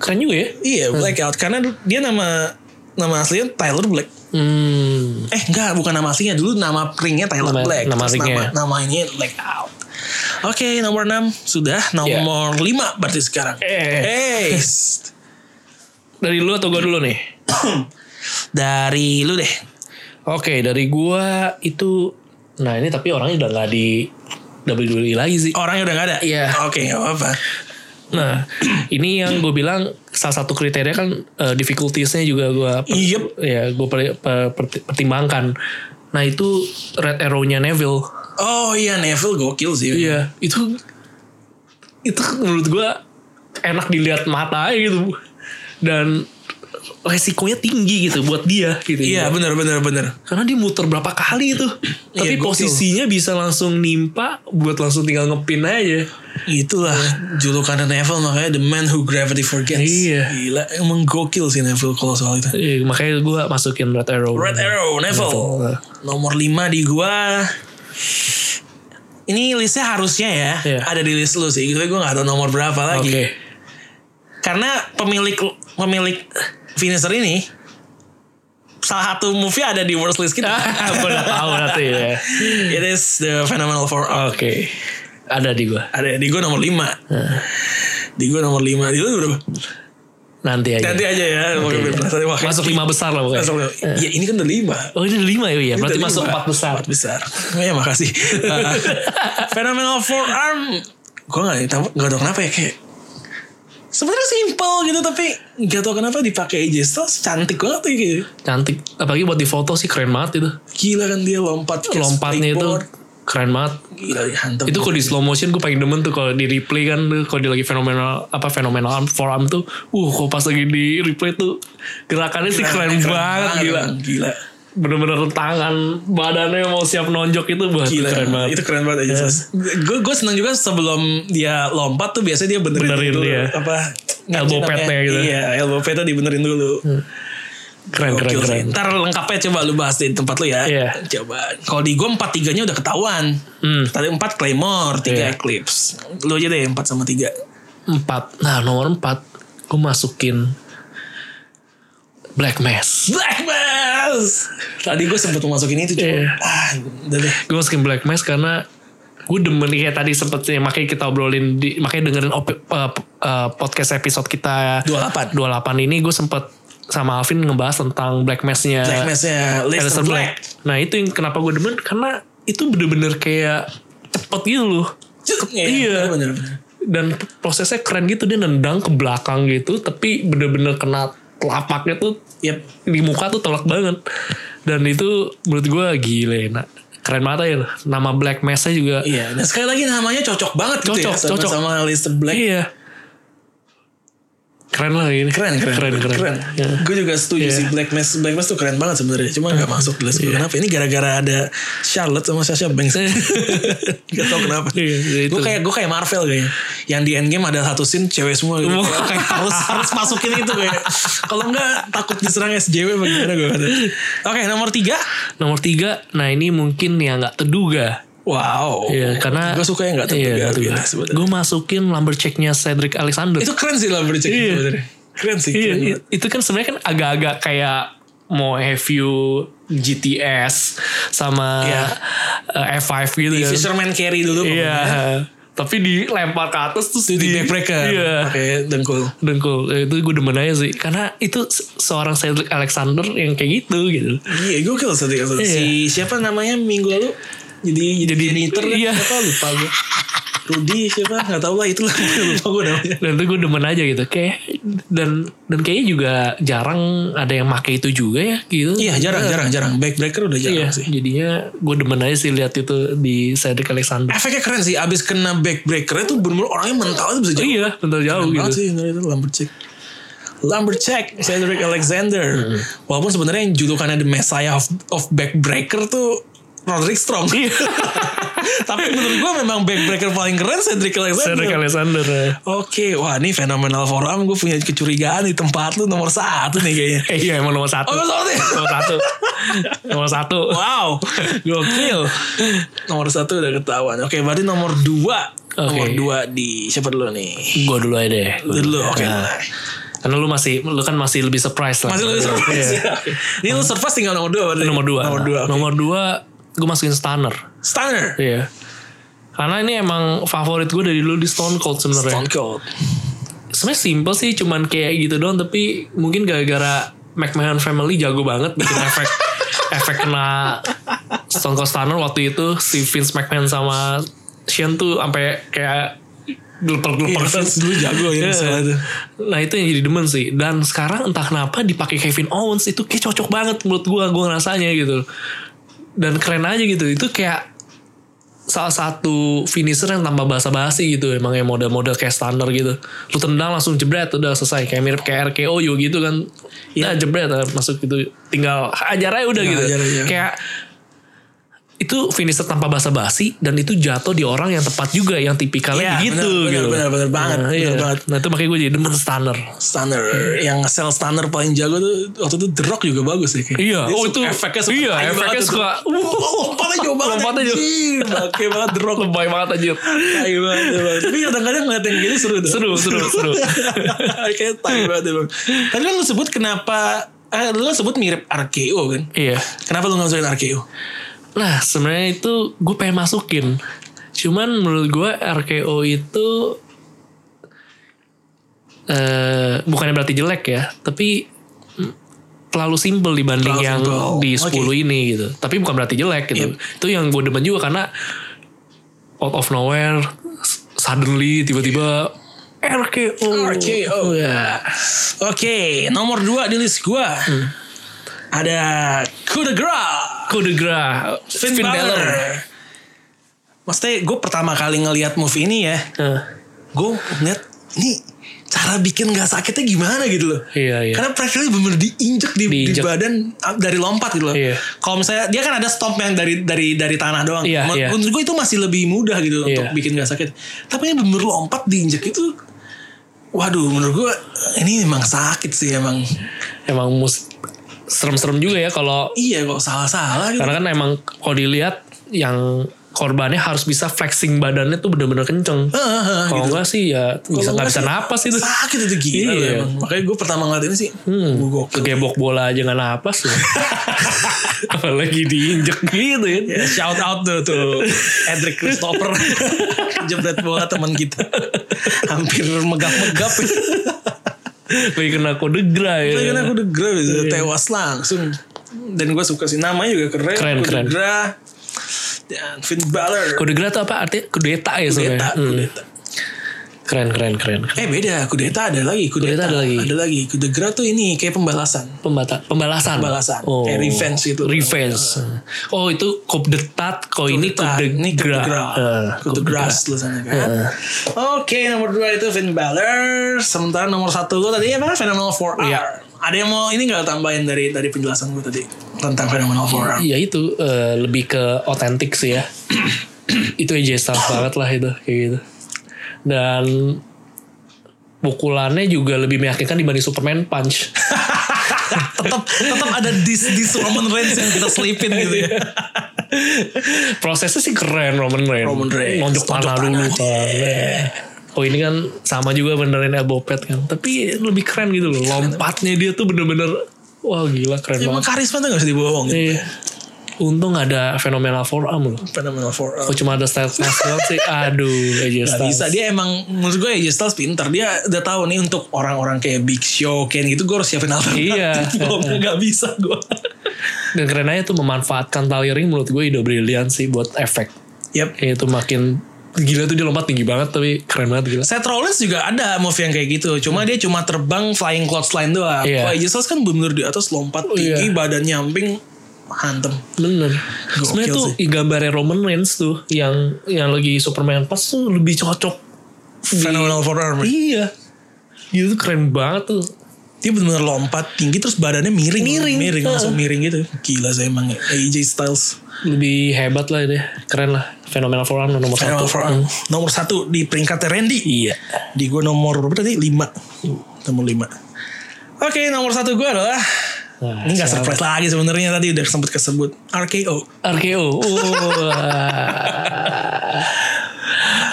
B: Keren juga ya.
A: iya blackout karena du- dia nama nama aslinya Tyler Black
B: Hmm.
A: eh enggak bukan nama aslinya dulu nama ringnya Tyler
B: Nama-
A: Black
B: nama ya.
A: Terus
B: ringnya.
A: nama, nama ini blackout oke nomor 6 sudah nomor 5 berarti sekarang
B: Iya. Eh.
A: hey
B: Dari lu atau gua dulu nih?
A: dari lu deh
B: Oke, dari gua itu nah ini tapi orangnya udah nggak di WWE lagi sih.
A: Orangnya udah gak ada?
B: Iya.
A: Oke gak apa-apa.
B: Nah, ini yang gue bilang salah satu kriteria kan eh, difficultiesnya juga gue
A: Yep.
B: ya gue pertimbangkan. Nah itu red arrow-nya Neville.
A: Oh iya Neville gokil sih.
B: Iya, itu itu menurut gua enak dilihat mata aja gitu dan resikonya tinggi gitu buat dia gitu.
A: Iya bener bener bener.
B: Karena dia muter berapa kali itu.
A: Iya,
B: Tapi
A: gokil.
B: posisinya bisa langsung nimpa buat langsung tinggal ngepin aja.
A: Itulah julukan Neville makanya the man who gravity forgets.
B: Iya.
A: Gila emang gokil sih Neville kalau soal itu.
B: Eh, makanya gua masukin red arrow.
A: Red Arrow Neville.
B: Neville.
A: Nomor 5 di gua. Ini listnya harusnya ya
B: Iya.
A: ada di list lu sih. Tapi gue gak tahu nomor berapa
B: Oke.
A: lagi. Karena pemilik pemilik finisher ini salah satu movie ada di worst list kita.
B: Aku udah tahu nanti ya.
A: It is the phenomenal four Oh,
B: Oke. Ada di gua.
A: Ada di gue nomor 5 Di gue nomor 5 Di lu berapa?
B: Nanti aja.
A: Nanti aja ya Oke,
B: Iya.
A: penasaran. Wah,
B: Masuk lima besar lah pokoknya.
A: Masuk Ya ini kan udah 5
B: Oh ini lima ya, iya. Berarti masuk empat besar.
A: besar Ya makasih Ah, Phenomenal forearm Gue gak, tau- gak tau kenapa ya Kayak sebenarnya simple gitu tapi gak tau kenapa dipakai AJ Styles cantik banget ya kayak
B: Cantik. Apalagi buat di foto sih keren banget itu.
A: gila kan dia lompat kayak
B: Lompatnya itu
A: springboard.
B: keren banget.
A: gila dihantam
B: Itu kalau di slow motion gue paling demen tuh kalau di replay kan tuh, kalau dia lagi fenomenal apa fenomenal arm forearm tuh. Uh, kalau pas lagi di replay tuh gerakannya sih keren, banget gila.
A: gila
B: Bener-bener tangan badannya mau siap nonjok itu buat
A: Gila,
B: keren banget.
A: Itu keren banget aja. Gue gue senang juga sebelum dia lompat tuh biasanya dia benerin,
B: Benerin
A: dulu
B: dia.
A: apa
B: Elbow
A: namanya?
B: padnya gitu. Hmm,
A: Iya, elbow padnya dibenerin dulu.
B: Keren
A: Gokil
B: keren
A: sih.
B: keren.
A: Ntar lengkapnya coba lu bahas di tempat lu ya.
B: Iya.
A: Coba. Kalau di gue empat tiganya udah ketahuan.
B: Hmm.
A: Tadi empat Claymore, tiga
B: Iya.
A: Eclipse. Lu aja deh empat sama tiga.
B: Empat. Nah nomor empat. Gue masukin. Black Mass.
A: Black Mass. Tadi gue sempet mau masukin itu cuma
B: Iya.
A: ah udah deh.
B: Gue masukin Black Mass karena. Gue demen kayak tadi sempet sih. Makanya kita obrolin. Di, makanya dengerin op- eh, p- eh, podcast episode kita.
A: 28.
B: 28 ini gue sempet sama Alvin ngebahas tentang Black Mass-nya.
A: Black Mass-nya Lester
B: Alistair
A: Black.
B: Black. Nah itu yang kenapa gue demen karena itu bener-bener kayak cepet gitu loh.
A: Cuk,
B: Iya.
A: Bener, bener.
B: Dan prosesnya keren gitu dia nendang ke belakang gitu tapi bener-bener kena telapaknya tuh
A: Yep.
B: di muka tuh telak banget. Dan itu menurut gue gile enak. Keren banget ya nama Black Mesa juga.
A: Iya. Dan sekali lagi namanya cocok banget gitu ya.
B: Cocok, cocok.
A: Sama Lester Black.
B: Iya. Keren lah ini.
A: Keren, keren,
B: keren. keren. Ya.
A: Gue juga setuju
B: Iya.
A: sih Black Mass. Black Mass tuh keren banget sebenarnya. Cuma nggak masuk di list gue. Kenapa? Ini gara-gara ada Charlotte sama Sasha Banks. gak tau kenapa.
B: Iya, iya, itu.
A: gue kayak gue kayak Marvel kayaknya. Yang di Endgame ada satu scene cewek semua. Gitu.
B: Wah.
A: Kayak harus harus masukin itu kayak. Kalau nggak takut diserang SJW bagaimana gue kata. Oke nomor tiga.
B: Nomor tiga, nah ini mungkin yang nggak terduga.
A: Wow.
B: Iya, karena Iya,
A: gue Oh, suka yang nggak terduga. gitu sebenarnya.
B: Gue masukin lumber checknya Cedric Alexander.
A: Itu keren sih lah bercek
B: Iya.
A: sebenarnya. Keren sih.
B: Iya,
A: Keren
B: i-
A: banget.
B: itu kan sebenarnya kan agak-agak kayak mau have you GTS sama
A: Iya.
B: eh, F5 gitu
A: Di
B: kan.
A: Fisherman Carry dulu.
B: Iya. Tapi dilempar ke atas terus
A: Itu di
B: di-
A: backbreaker.
B: Iya.
A: Pakai dengkul.
B: Dengkul Eh, itu gue demen aja sih karena itu se- seorang Cedric Alexander yang kayak gitu gitu.
A: Iya, gokil tadi kata si siapa namanya minggu lalu jadi jadi
B: Jadi-
A: janitor kan?
B: iya.
A: siapa lupa gue. Rudy siapa nggak tahu lah itulah lupa gue namanya.
B: dan itu gue demen aja gitu kayak dan dan kayaknya juga jarang ada yang make itu juga ya gitu
A: Iya jarang jarang jarang backbreaker udah jarang
B: Iya,
A: sih.
B: jadinya gue demen aja sih lihat itu di Cedric Alexander
A: Efeknya keren sih abis kena backbreaker itu bener-bener orangnya mentalnya bisa jauh
B: iya bentar jauh
A: banget
B: gitu
A: sih bener itu Lumberjack. Lumberjack Cedric Alexander. Walaupun sebenarnya yang julukannya The Messiah of, of Backbreaker tuh Roderick Strong.
B: Iya.
A: Tapi menurut gue memang backbreaker paling keren Cedric Alexander.
B: Cedric Alexander eh.
A: Oke, wah ini fenomenal forum gue punya kecurigaan di tempat lu nomor satu nih kayaknya.
B: eh iya emang nomor satu
A: Oh, nomor satu.
B: nomor satu nomor satu
A: Wow, gokil. nomor satu udah ketahuan. Oke, berarti nomor dua.
B: Oke.
A: Nomor dua di siapa dulu nih?
B: gue dulu aja deh
A: Lu dulu, oke.
B: Nah, karena lu masih lu kan masih lebih surprise lah
A: Masih lu surprise. ya.
B: Iya.
A: Ini lu surprise tinggal nomor dua berarti.
B: Eh, nomor dua
A: Nomor dua. oke.
B: nomor dua gue masukin stunner
A: Stunner.
B: iya karena ini emang favorit gue dari dulu di Stone Cold sebenarnya
A: Stone Cold.
B: sebenarnya simple sih cuman kayak gitu doang tapi mungkin gara-gara McMahon family jago banget bikin efek efek kena Stone Cold Stunner waktu itu si Vince McMahon sama Shane tuh sampai kayak
A: Iya,
B: geleper-geleper
A: Vince dulu jago ya,
B: Iya.
A: misalnya tuh.
B: Nah itu yang jadi demen sih Dan sekarang entah kenapa dipakai Kevin Owens Itu kayak cocok banget menurut gue Gue ngerasanya gitu Dan keren aja gitu Itu kayak salah satu finisher yang tambah basa-basi gitu emang yang model-model kayak standar gitu lu tendang langsung jebret udah selesai kayak mirip kayak RKO yo gitu kan
A: Iya.
B: ya jebret eh, masuk gitu tinggal ajar aja udah
A: Tinggal
B: gitu
A: ajar Iya, aja.
B: kayak itu finisher tanpa basa-basi dan itu jatuh di orang yang tepat juga yang tipikalnya
A: Iya,
B: gitu
A: benar, benar,
B: gitu
A: benar, benar banget,
B: nah,
A: benar
B: iya.
A: banget.
B: nah itu makanya gue jadi demen stunner
A: Stunner. Yang sel stunner paling jago tuh waktu itu The Rock juga bagus ya. kayak.
B: Iya,
A: Dia
B: oh
A: suka-
B: itu
A: efeknya suka.
B: Iya,
A: Ayo
B: efeknya
A: banget tuh.
B: suka.
A: Wow, lompatnya jauh banget.
B: Lompatnya jauh.
A: anjing. Bangke banget The Rock.
B: Lebay banget anjir.
A: Tai banget, tai banget. Tapi kadang-kadang ngeliat yang gini seru tuh.
B: Seru, seru, seru.
A: Kayak tai banget emang. Tadi kan lu sebut kenapa eh, lu sebut mirip RKO kan?
B: Iya.
A: Kenapa lu gak masukin RKO?
B: Nah, sebenarnya itu gue pengen masukin. Cuman menurut gue RKO itu eh bukannya berarti jelek ya, tapi mm, terlalu simple dibanding
A: Terlalu
B: yang
A: simple.
B: di
A: Oke.
B: 10 ini gitu. Tapi bukan berarti jelek gitu. Itu yang gue demen juga karena out of nowhere s- suddenly tiba-tiba RKO.
A: RKO.
B: Ya.
A: oh. Iya. Oke, nomor 2 di list gua. Ada Coup de Grace.
B: Coup de grace.
A: Finn, Balor. Maksudnya gue pertama kali ngelihat move ini ya.
B: Nah,
A: Gue ngeliat ini cara bikin gak sakitnya gimana gitu loh.
B: iya, iya.
A: Karena pressure bener diinjek di, di
B: Diinjek.
A: badan ah, dari lompat gitu loh.
B: Iya.
A: Kalau misalnya dia kan ada stomp yang dari dari dari tanah doang.
B: Iya,
A: Men-
B: iya.
A: Menurut gue itu masih lebih mudah gitu
B: Iya.
A: untuk bikin gak sakit. Tapi ini bener lompat diinjek itu Waduh menurut gue ini emang sakit sih emang.
B: Emang mus serem-serem juga ya kalau
A: Iya kok salah-salah gitu.
B: Karena kan emang kalau dilihat yang korbannya harus bisa flexing badannya tuh bener-bener kenceng.
A: Heeh,
B: Kalau enggak sih
A: Ah,
B: ya bisa
A: gitu. Kalau
B: nggak
A: enggak
B: bisa
A: sih,
B: napas itu.
A: Sakit itu gila
B: Iya. Hmm.
A: loh emang. Makanya gue pertama ngeliat ini sih Gue gokil
B: Kegebok bola aja nggak napas loh. Apalagi diinjek gitu kan.
A: Ya, Shout out tuh tuh Edric Christopher Jebret bola teman kita Hampir megap-megap
B: Lagi kena kode gra
A: ya.
B: ya.
A: Lagi kan aku udah gerah gitu,
B: Iya.
A: Tewas langsung Dan gue suka sih Namanya juga keren
B: Keren,
A: Aku
B: keren.
A: gerah. Dan Finn Balor
B: Kode gra tuh apa artinya? Kudeta ya
A: Kudeta,
B: sebenarnya. Hmm.
A: kudeta.
B: Keren keren keren.
A: Eh beda Kudeta ada lagi
B: Kudeta ada lagi.
A: Ada lagi Kuda gerah tuh ini Kayak pembalasan
B: Pembata, pembalasan.
A: Pembalasan.
B: Oh.
A: Kayak revenge gitu.
B: Revenge. Oh itu kodetat, kok ini
A: Kudeta.
B: kode
A: Ini
B: gra. Eh,
A: Kuda
B: kode gra.
A: Grass tulisannya kan Oke nomor 2 itu Finn Balor Sementara nomor 1 lo tadi apa Phenomenal 4R
B: Iya.
A: Ada yang mau ini gak tambahin dari dari penjelasan gue tadi Tentang Phenomenal 4R
B: Iya itu eh, lebih ke otentik sih ya. itu AJ Styles banget lah itu kayak gitu. Dan pukulannya juga lebih meyakinkan dibanding Superman Punch.
A: tetap tetap ada dis dis Roman Reigns yang kita selipin gitu ya.
B: Prosesnya sih keren Roman Reigns.
A: Roman Reigns. Iya. Nonjok
B: Nonjok panah
A: panah.
B: dulu kan. Oh ini kan sama juga benerin elbow pad kan. Tapi lebih keren gitu loh. Lompatnya dia tuh bener-bener. Wah gila keren
A: Emang
B: banget.
A: karisma tuh gak bisa dibohongin.
B: Iya. Untung ada fenomena forearm loh.
A: Phenomenal for
B: Kok cuma ada style class doang sih. Aduh. AJ
A: Gak
B: Styles.
A: bisa dia emang menurut gue AJ Styles pintar dia udah tahu nih untuk orang-orang kayak Big Show kayak gitu gue harus siapin alternatif
B: Iya.
A: Kalau enggak, gak bisa gue
B: Dan keren aja tuh memanfaatkan tali ring menurut gue ide brilian sih buat efek.
A: Yap
B: Kayak itu makin gila tuh dia lompat tinggi banget tapi keren banget gila.
A: Seth Rollins juga ada move yang kayak gitu cuma dia cuma terbang flying clothesline doang
B: Hmm. Iya.
A: kalau AJ Styles kan bener di atas lompat tinggi
B: Iya.
A: badan nyamping hantem
B: Bener. Sebenarnya tuh
A: sih.
B: gambarnya Roman Reigns tuh yang yang lagi Superman pas tuh lebih cocok.
A: Phenomenal forearm
B: Iya. Gila tuh keren banget tuh.
A: dia benar lompat tinggi terus badannya miring
B: Miring. eh.
A: miring
B: Heeh.
A: langsung miring gitu gila sih emang AJ Styles
B: Lebih hebat lah dia. Keren lah. Fenomenal forearm nomor
A: Phenomenal
B: satu.
A: forearm. nomor satu di peringkatnya Randy
B: Iya.
A: di gue nomor berapa tadi lima nomor lima oke nomor satu gue adalah
B: Nah,
A: ini nggak
B: siapa?
A: surprise lagi sebenarnya tadi udah sempet kesebut RKO
B: RKO. Wah.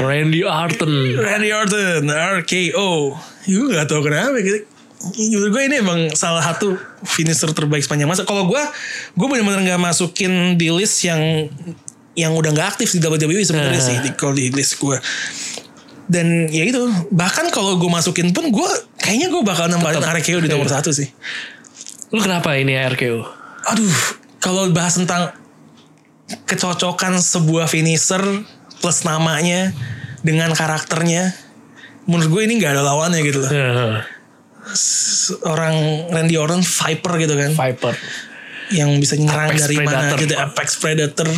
B: Randy Orton.
A: Randy Orton RKO gue nggak tahu kenapa gitu Menurut gue ini emang salah satu finisher terbaik sepanjang masa. Kalau gue, gue bener-bener nggak masukin di list yang yang udah nggak aktif di WWE sebenarnya
B: Nah.
A: sih. di- Kalau di list gue, dan ya itu bahkan kalau gue masukin pun gue kayaknya gue bakal nambahin RKO di nomor satu sih.
B: Lu kenapa ini ya, RKO?
A: aduh kalau bahas tentang kecocokan sebuah finisher plus namanya dengan karakternya menurut gue ini nggak ada lawannya gitu loh
B: Heeh.
A: orang Randy Orton Viper gitu kan
B: Viper.
A: yang bisa nyerang
B: Apex
A: dari mana
B: Predator.
A: gitu Apex Predator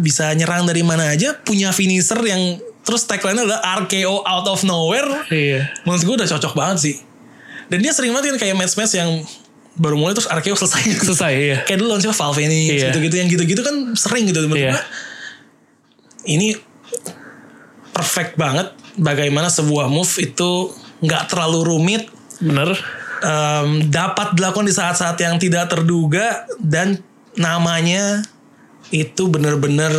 A: bisa nyerang dari mana aja punya finisher yang terus tagline-nya adalah RKO out of nowhere
B: Iya.
A: menurut gue udah cocok banget sih dan dia sering banget kan kayak match-match yang baru mulai terus RKO selesai
B: Selesai iya.
A: kayak dulu lawan siapa Valveni
B: Iya.
A: gitu-gitu yang gitu-gitu kan sering gitu menurut
B: Iya.
A: gua, ini perfect banget bagaimana sebuah move itu nggak terlalu rumit
B: Bener.
A: em, dapat dilakukan di saat-saat yang tidak terduga dan namanya itu bener-bener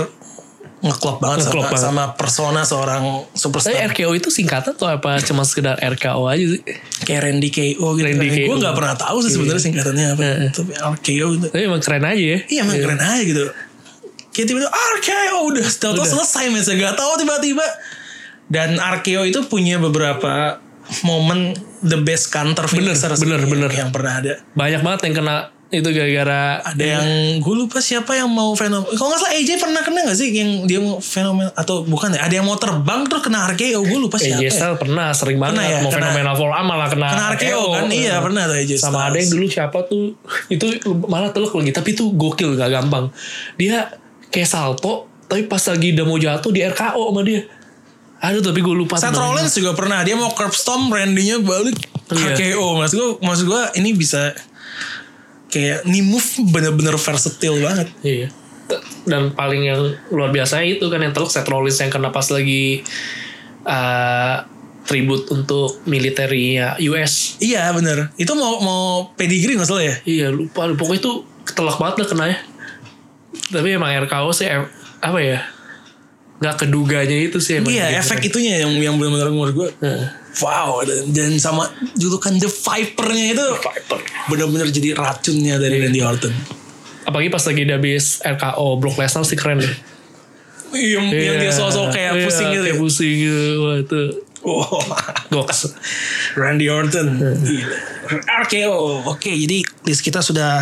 A: ngeklop banget, sama,
B: Ngeklop banget.
A: sama persona seorang
B: Tapi
A: superstar
B: RKO itu singkatan atau apa cuma sekedar RKO aja sih?
A: kayak Randy KO gitu
B: Randy Iya.
A: gue
B: KO.
A: nggak pernah tahu sih sebenarnya singkatannya apa
B: Heeh.
A: tapi RKO itu
B: Tapi emang keren aja ya.
A: Iya emang keren aja gitu Kayak tiba-tiba "Ah, RKO udah Tau-tau
B: Udah.
A: selesai match Gak tau tiba-tiba Dan RKO itu punya beberapa Momen The best counter
B: Bener,
A: finisher sih
B: bener,
A: yang-
B: bener.
A: Yang pernah ada
B: Banyak banget yang kena itu gara-gara
A: Ada yang Gue lupa siapa yang mau fenomen Kalau gak salah AJ pernah kena gak sih Yang dia mau fenomen Atau bukan ya Ada yang mau terbang Terus kena RKO Gue lupa siapa
B: AJ
A: ya
B: Styles pernah sering banget
A: Pernah ya,
B: mau
A: kena-
B: fenomena forearm malah kena,
A: Kena RKO kan Iya
B: Nah.
A: pernah tuh AJ
B: Sama ada yang dulu siapa tuh itu malah teluk lagi tapi itu gokil gak gampang. Dia kayak salto tapi pas lagi udah mau jatuh di RKO sama dia. Aduh tapi gue lupa.
A: Seth
B: tuh namanya.
A: Rollins juga pernah dia mau curb stomp Randy-nya balik
B: Iya.
A: KO. Maksud gue maksud gue ini bisa kayak ini move bener-bener versatile banget.
B: Iya. T- Dan paling yang luar biasa itu kan yang teluk Seth Rollins yang kena pas lagi eh tribut untuk militernya US.
A: Iya bener. Itu mau mau pedigree nggak salah ya?
B: Iya lupa pokoknya itu ketelak banget lah kenanya. Tapi emang RKO sih em- apa ya? Gak keduganya itu sih emang
A: Iya,
B: gitu.
A: efek itunya yang yang benar-benar menurut gue.
B: Heeh.
A: Wow, dan, dan sama julukan The Viper-nya itu
B: Viper.
A: benar-benar jadi racunnya
B: Iya.
A: dari Randy Orton.
B: Apalagi pas lagi dia habis RKO Brock Lesnar sih keren deh.
A: Iya, Yang, yang dia sosok kayak
B: Iya,
A: pusing gitu. ya.
B: Kayak pusing gitu. Wah itu
A: Wow.
B: goks.
A: Randy Orton.
B: Hmm.
A: Gila. RKO. Oke, jadi list kita sudah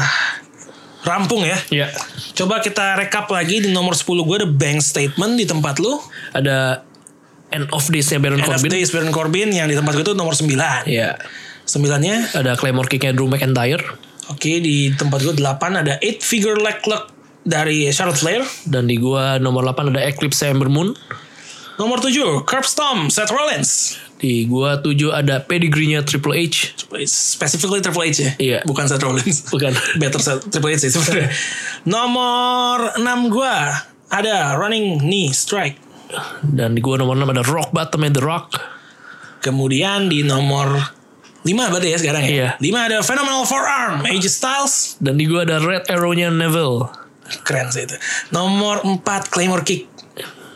A: rampung ya.
B: Iya.
A: Coba kita rekap lagi di nomor 10 gue ada bank statement di tempat lu.
B: Ada End of Days-nya Baron
A: End of
B: Corbin.
A: Days Baron Corbin yang di tempat gue itu nomor 9.
B: Iya.
A: 9-nya
B: Ada Claymore kick-nya Drew McIntyre.
A: Oke di tempat gue 8 ada 8 figure leg lock dari Charlotte Flair.
B: Dan di gua nomor 8 ada Eclipse Ember Moon.
A: Nomor 7 curb stomp Seth Rollins.
B: Di gua 7 ada Pedigree-nya Triple H.
A: Specifically Triple H ya.
B: Iya.
A: Bukan Seth Rollins.
B: Bukan.
A: Better Seth, Triple H sih sebenarnya. nomor 6 gue ada running knee strike.
B: Dan di gua nomor 6 ada Rock Bottom and The Rock.
A: Kemudian di nomor 5 berarti ya sekarang
B: Iya.
A: ya. 5 ada phenomenal forearm AJ Styles.
B: Dan di gua ada Red Arrow-nya Neville.
A: Keren sih itu. Nomor 4 Claymore kick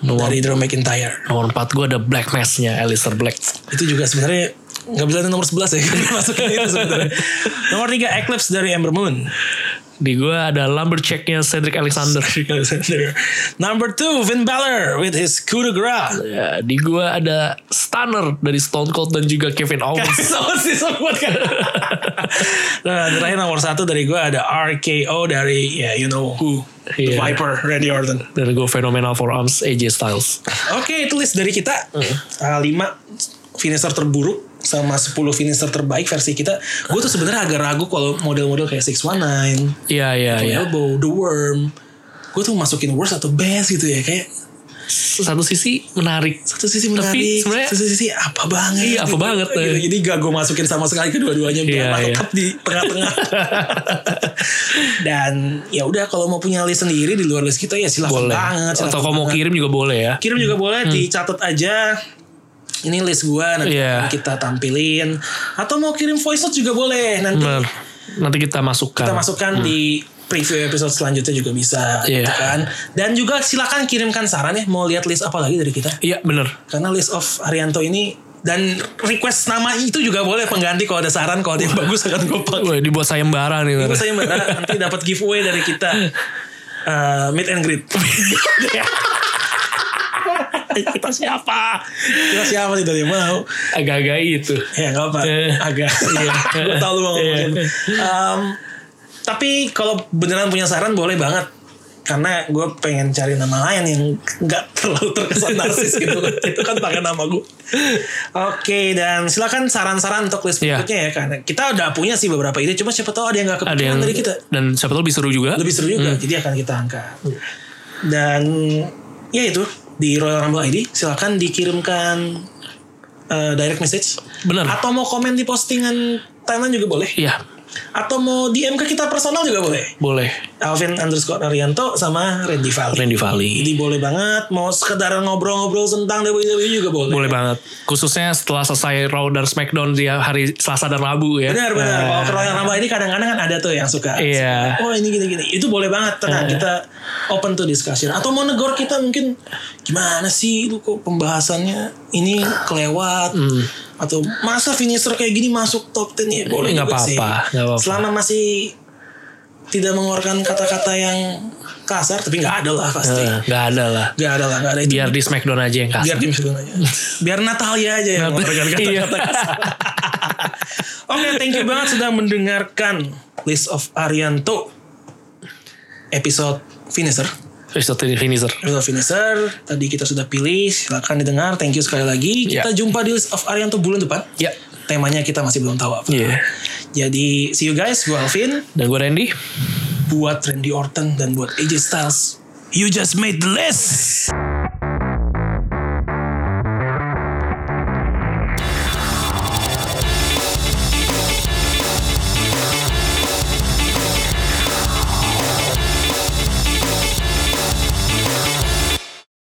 B: Nomor
A: dari Drew McIntyre.
B: Nomor 4 gue ada Black Mass-nya Alistair Black.
A: itu juga sebenarnya nggak bisa nomor 11 ya masukin itu sebenarnya nomor 3 Eclipse dari Ember Moon
B: Di gue ada Lumberjack-nya Cedric Alexander.
A: number 2 Finn Balor with his coup de grace
B: Ya, di gue ada Stunner dari Stone Cold dan juga Kevin Owens.
A: sama sih semua kan nah terakhir nomor 1 dari gue ada RKO dari ya you know who The
B: Iya.
A: Viper Randy Orton
B: dan gue Phenomenal Forearms AJ Styles.
A: oke itu list dari kita 5 finisher terburuk sama 10 finisher terbaik versi kita gue tuh sebenarnya agak ragu kalau model-model kayak 619
B: Iya, iya,
A: Tuh,
B: iya.
A: elbow, the worm. Gue tuh masukin worst atau best gitu ya kayak
B: Satu sisi menarik.
A: satu sisi menarik,
B: Tapi sebenarnya-
A: satu sisi apa banget.
B: Iya, apa banget,
A: Gitu.
B: eh.
A: Jadi gak gue masukin sama sekali kedua-duanya biar
B: Iya,
A: lengkap di tengah-tengah. Dan ya udah kalau mau punya list sendiri di luar list kita ya silakan
B: Boleh.
A: banget. silakan
B: Atau kalau mau
A: banget.
B: kirim juga boleh ya.
A: kirim juga boleh dicatat aja. Ini list gue nanti
B: Iya.
A: akan kita tampilin atau mau kirim voice note juga boleh nanti
B: Bener. Nanti kita masukkan.
A: kita masukkan di preview episode selanjutnya juga bisa
B: Hmm. Iya.
A: gitu kan dan juga silakan kirimkan saran ya mau lihat list apa lagi dari kita
B: Iya, bener.
A: karena list of Arianto ini dan request nama itu juga boleh pengganti kalau ada saran kalau ada yang bagus akan gue pakai
B: Wah, dibuat sayembara nih.
A: Terus saya minta nanti dapat giveaway dari kita eh, meet and greet
B: kita siapa?
A: kita siapa sih tadi mau
B: Agak-agak itu.
A: ya nggak apa
B: Eh.
A: agak gue tahu lu mau ngomongin
B: Iya.
A: Em, tapi kalau beneran punya saran boleh banget karena gue pengen cari nama lain yang nggak terlalu terkesan narsis gitu itu kan pakai nama gue oke dan silakan saran-saran untuk list
B: Iya.
A: berikutnya ya karena kita udah punya sih beberapa ide cuma siapa tahu ada yang nggak
B: Ada
A: kepikiran
B: yang
A: dari kita
B: dan siapa tahu lebih seru juga.
A: lebih seru juga jadi akan kita angkat dan ya itu di Royal Rumble ID silakan dikirimkan eh, direct message
B: Bener.
A: atau mau komen di postingan timeline juga boleh
B: Iya,
A: atau mau DM ke kita personal juga boleh
B: boleh.
A: Alvin underscore Arianto sama Randy Valley
B: Randy Valley.
A: jadi boleh banget mau sekedar ngobrol-ngobrol tentang WWE juga boleh ya.
B: Boleh banget. Khususnya setelah selesai Raw dan SmackDown dia hari Selasa dan Rabu ya.
A: Benar benar.
B: Nah,
A: Kalau ke Royal Rumble ini kadang-kadang kan ada tuh yang suka.
B: Iya.
A: Oh ini gini gini. Itu boleh banget tenang kita open to discussion. Atau mau negor kita mungkin gimana sih lu kok pembahasannya ini kelewat.
B: Hmm.
A: Atau masa finisher kayak gini masuk top 10 ya boleh
B: Nggak
A: juga sih.
B: apa-apa, nggak apa-apa.
A: Selama masih tidak mengeluarkan kata-kata yang kasar tapi nggak ada lah pasti.
B: eh, nggak ada lah.
A: Nggak ada lah nggak ada itu.
B: Biar di SmackDown aja yang kasar.
A: Biar tim sebenarnya. Biar Natalia aja yang mengeluarkan
B: Iya.
A: kata-kata kasar. Oke, thank you banget sudah mendengarkan List of Arianto episode finisher.
B: Episode finisher.
A: Episode finisher tadi kita sudah pilih, silakan didengar. Thank you sekali lagi. Kita
B: Ya.
A: jumpa di List of Arianto bulan depan.
B: Ya.
A: Temanya kita masih belum tahu apa.
B: Iya.
A: Jadi see you guys, gue Alvin,
B: Dan gue Randy.
A: buat Randy Orton dan buat AJ Styles. You just made the list.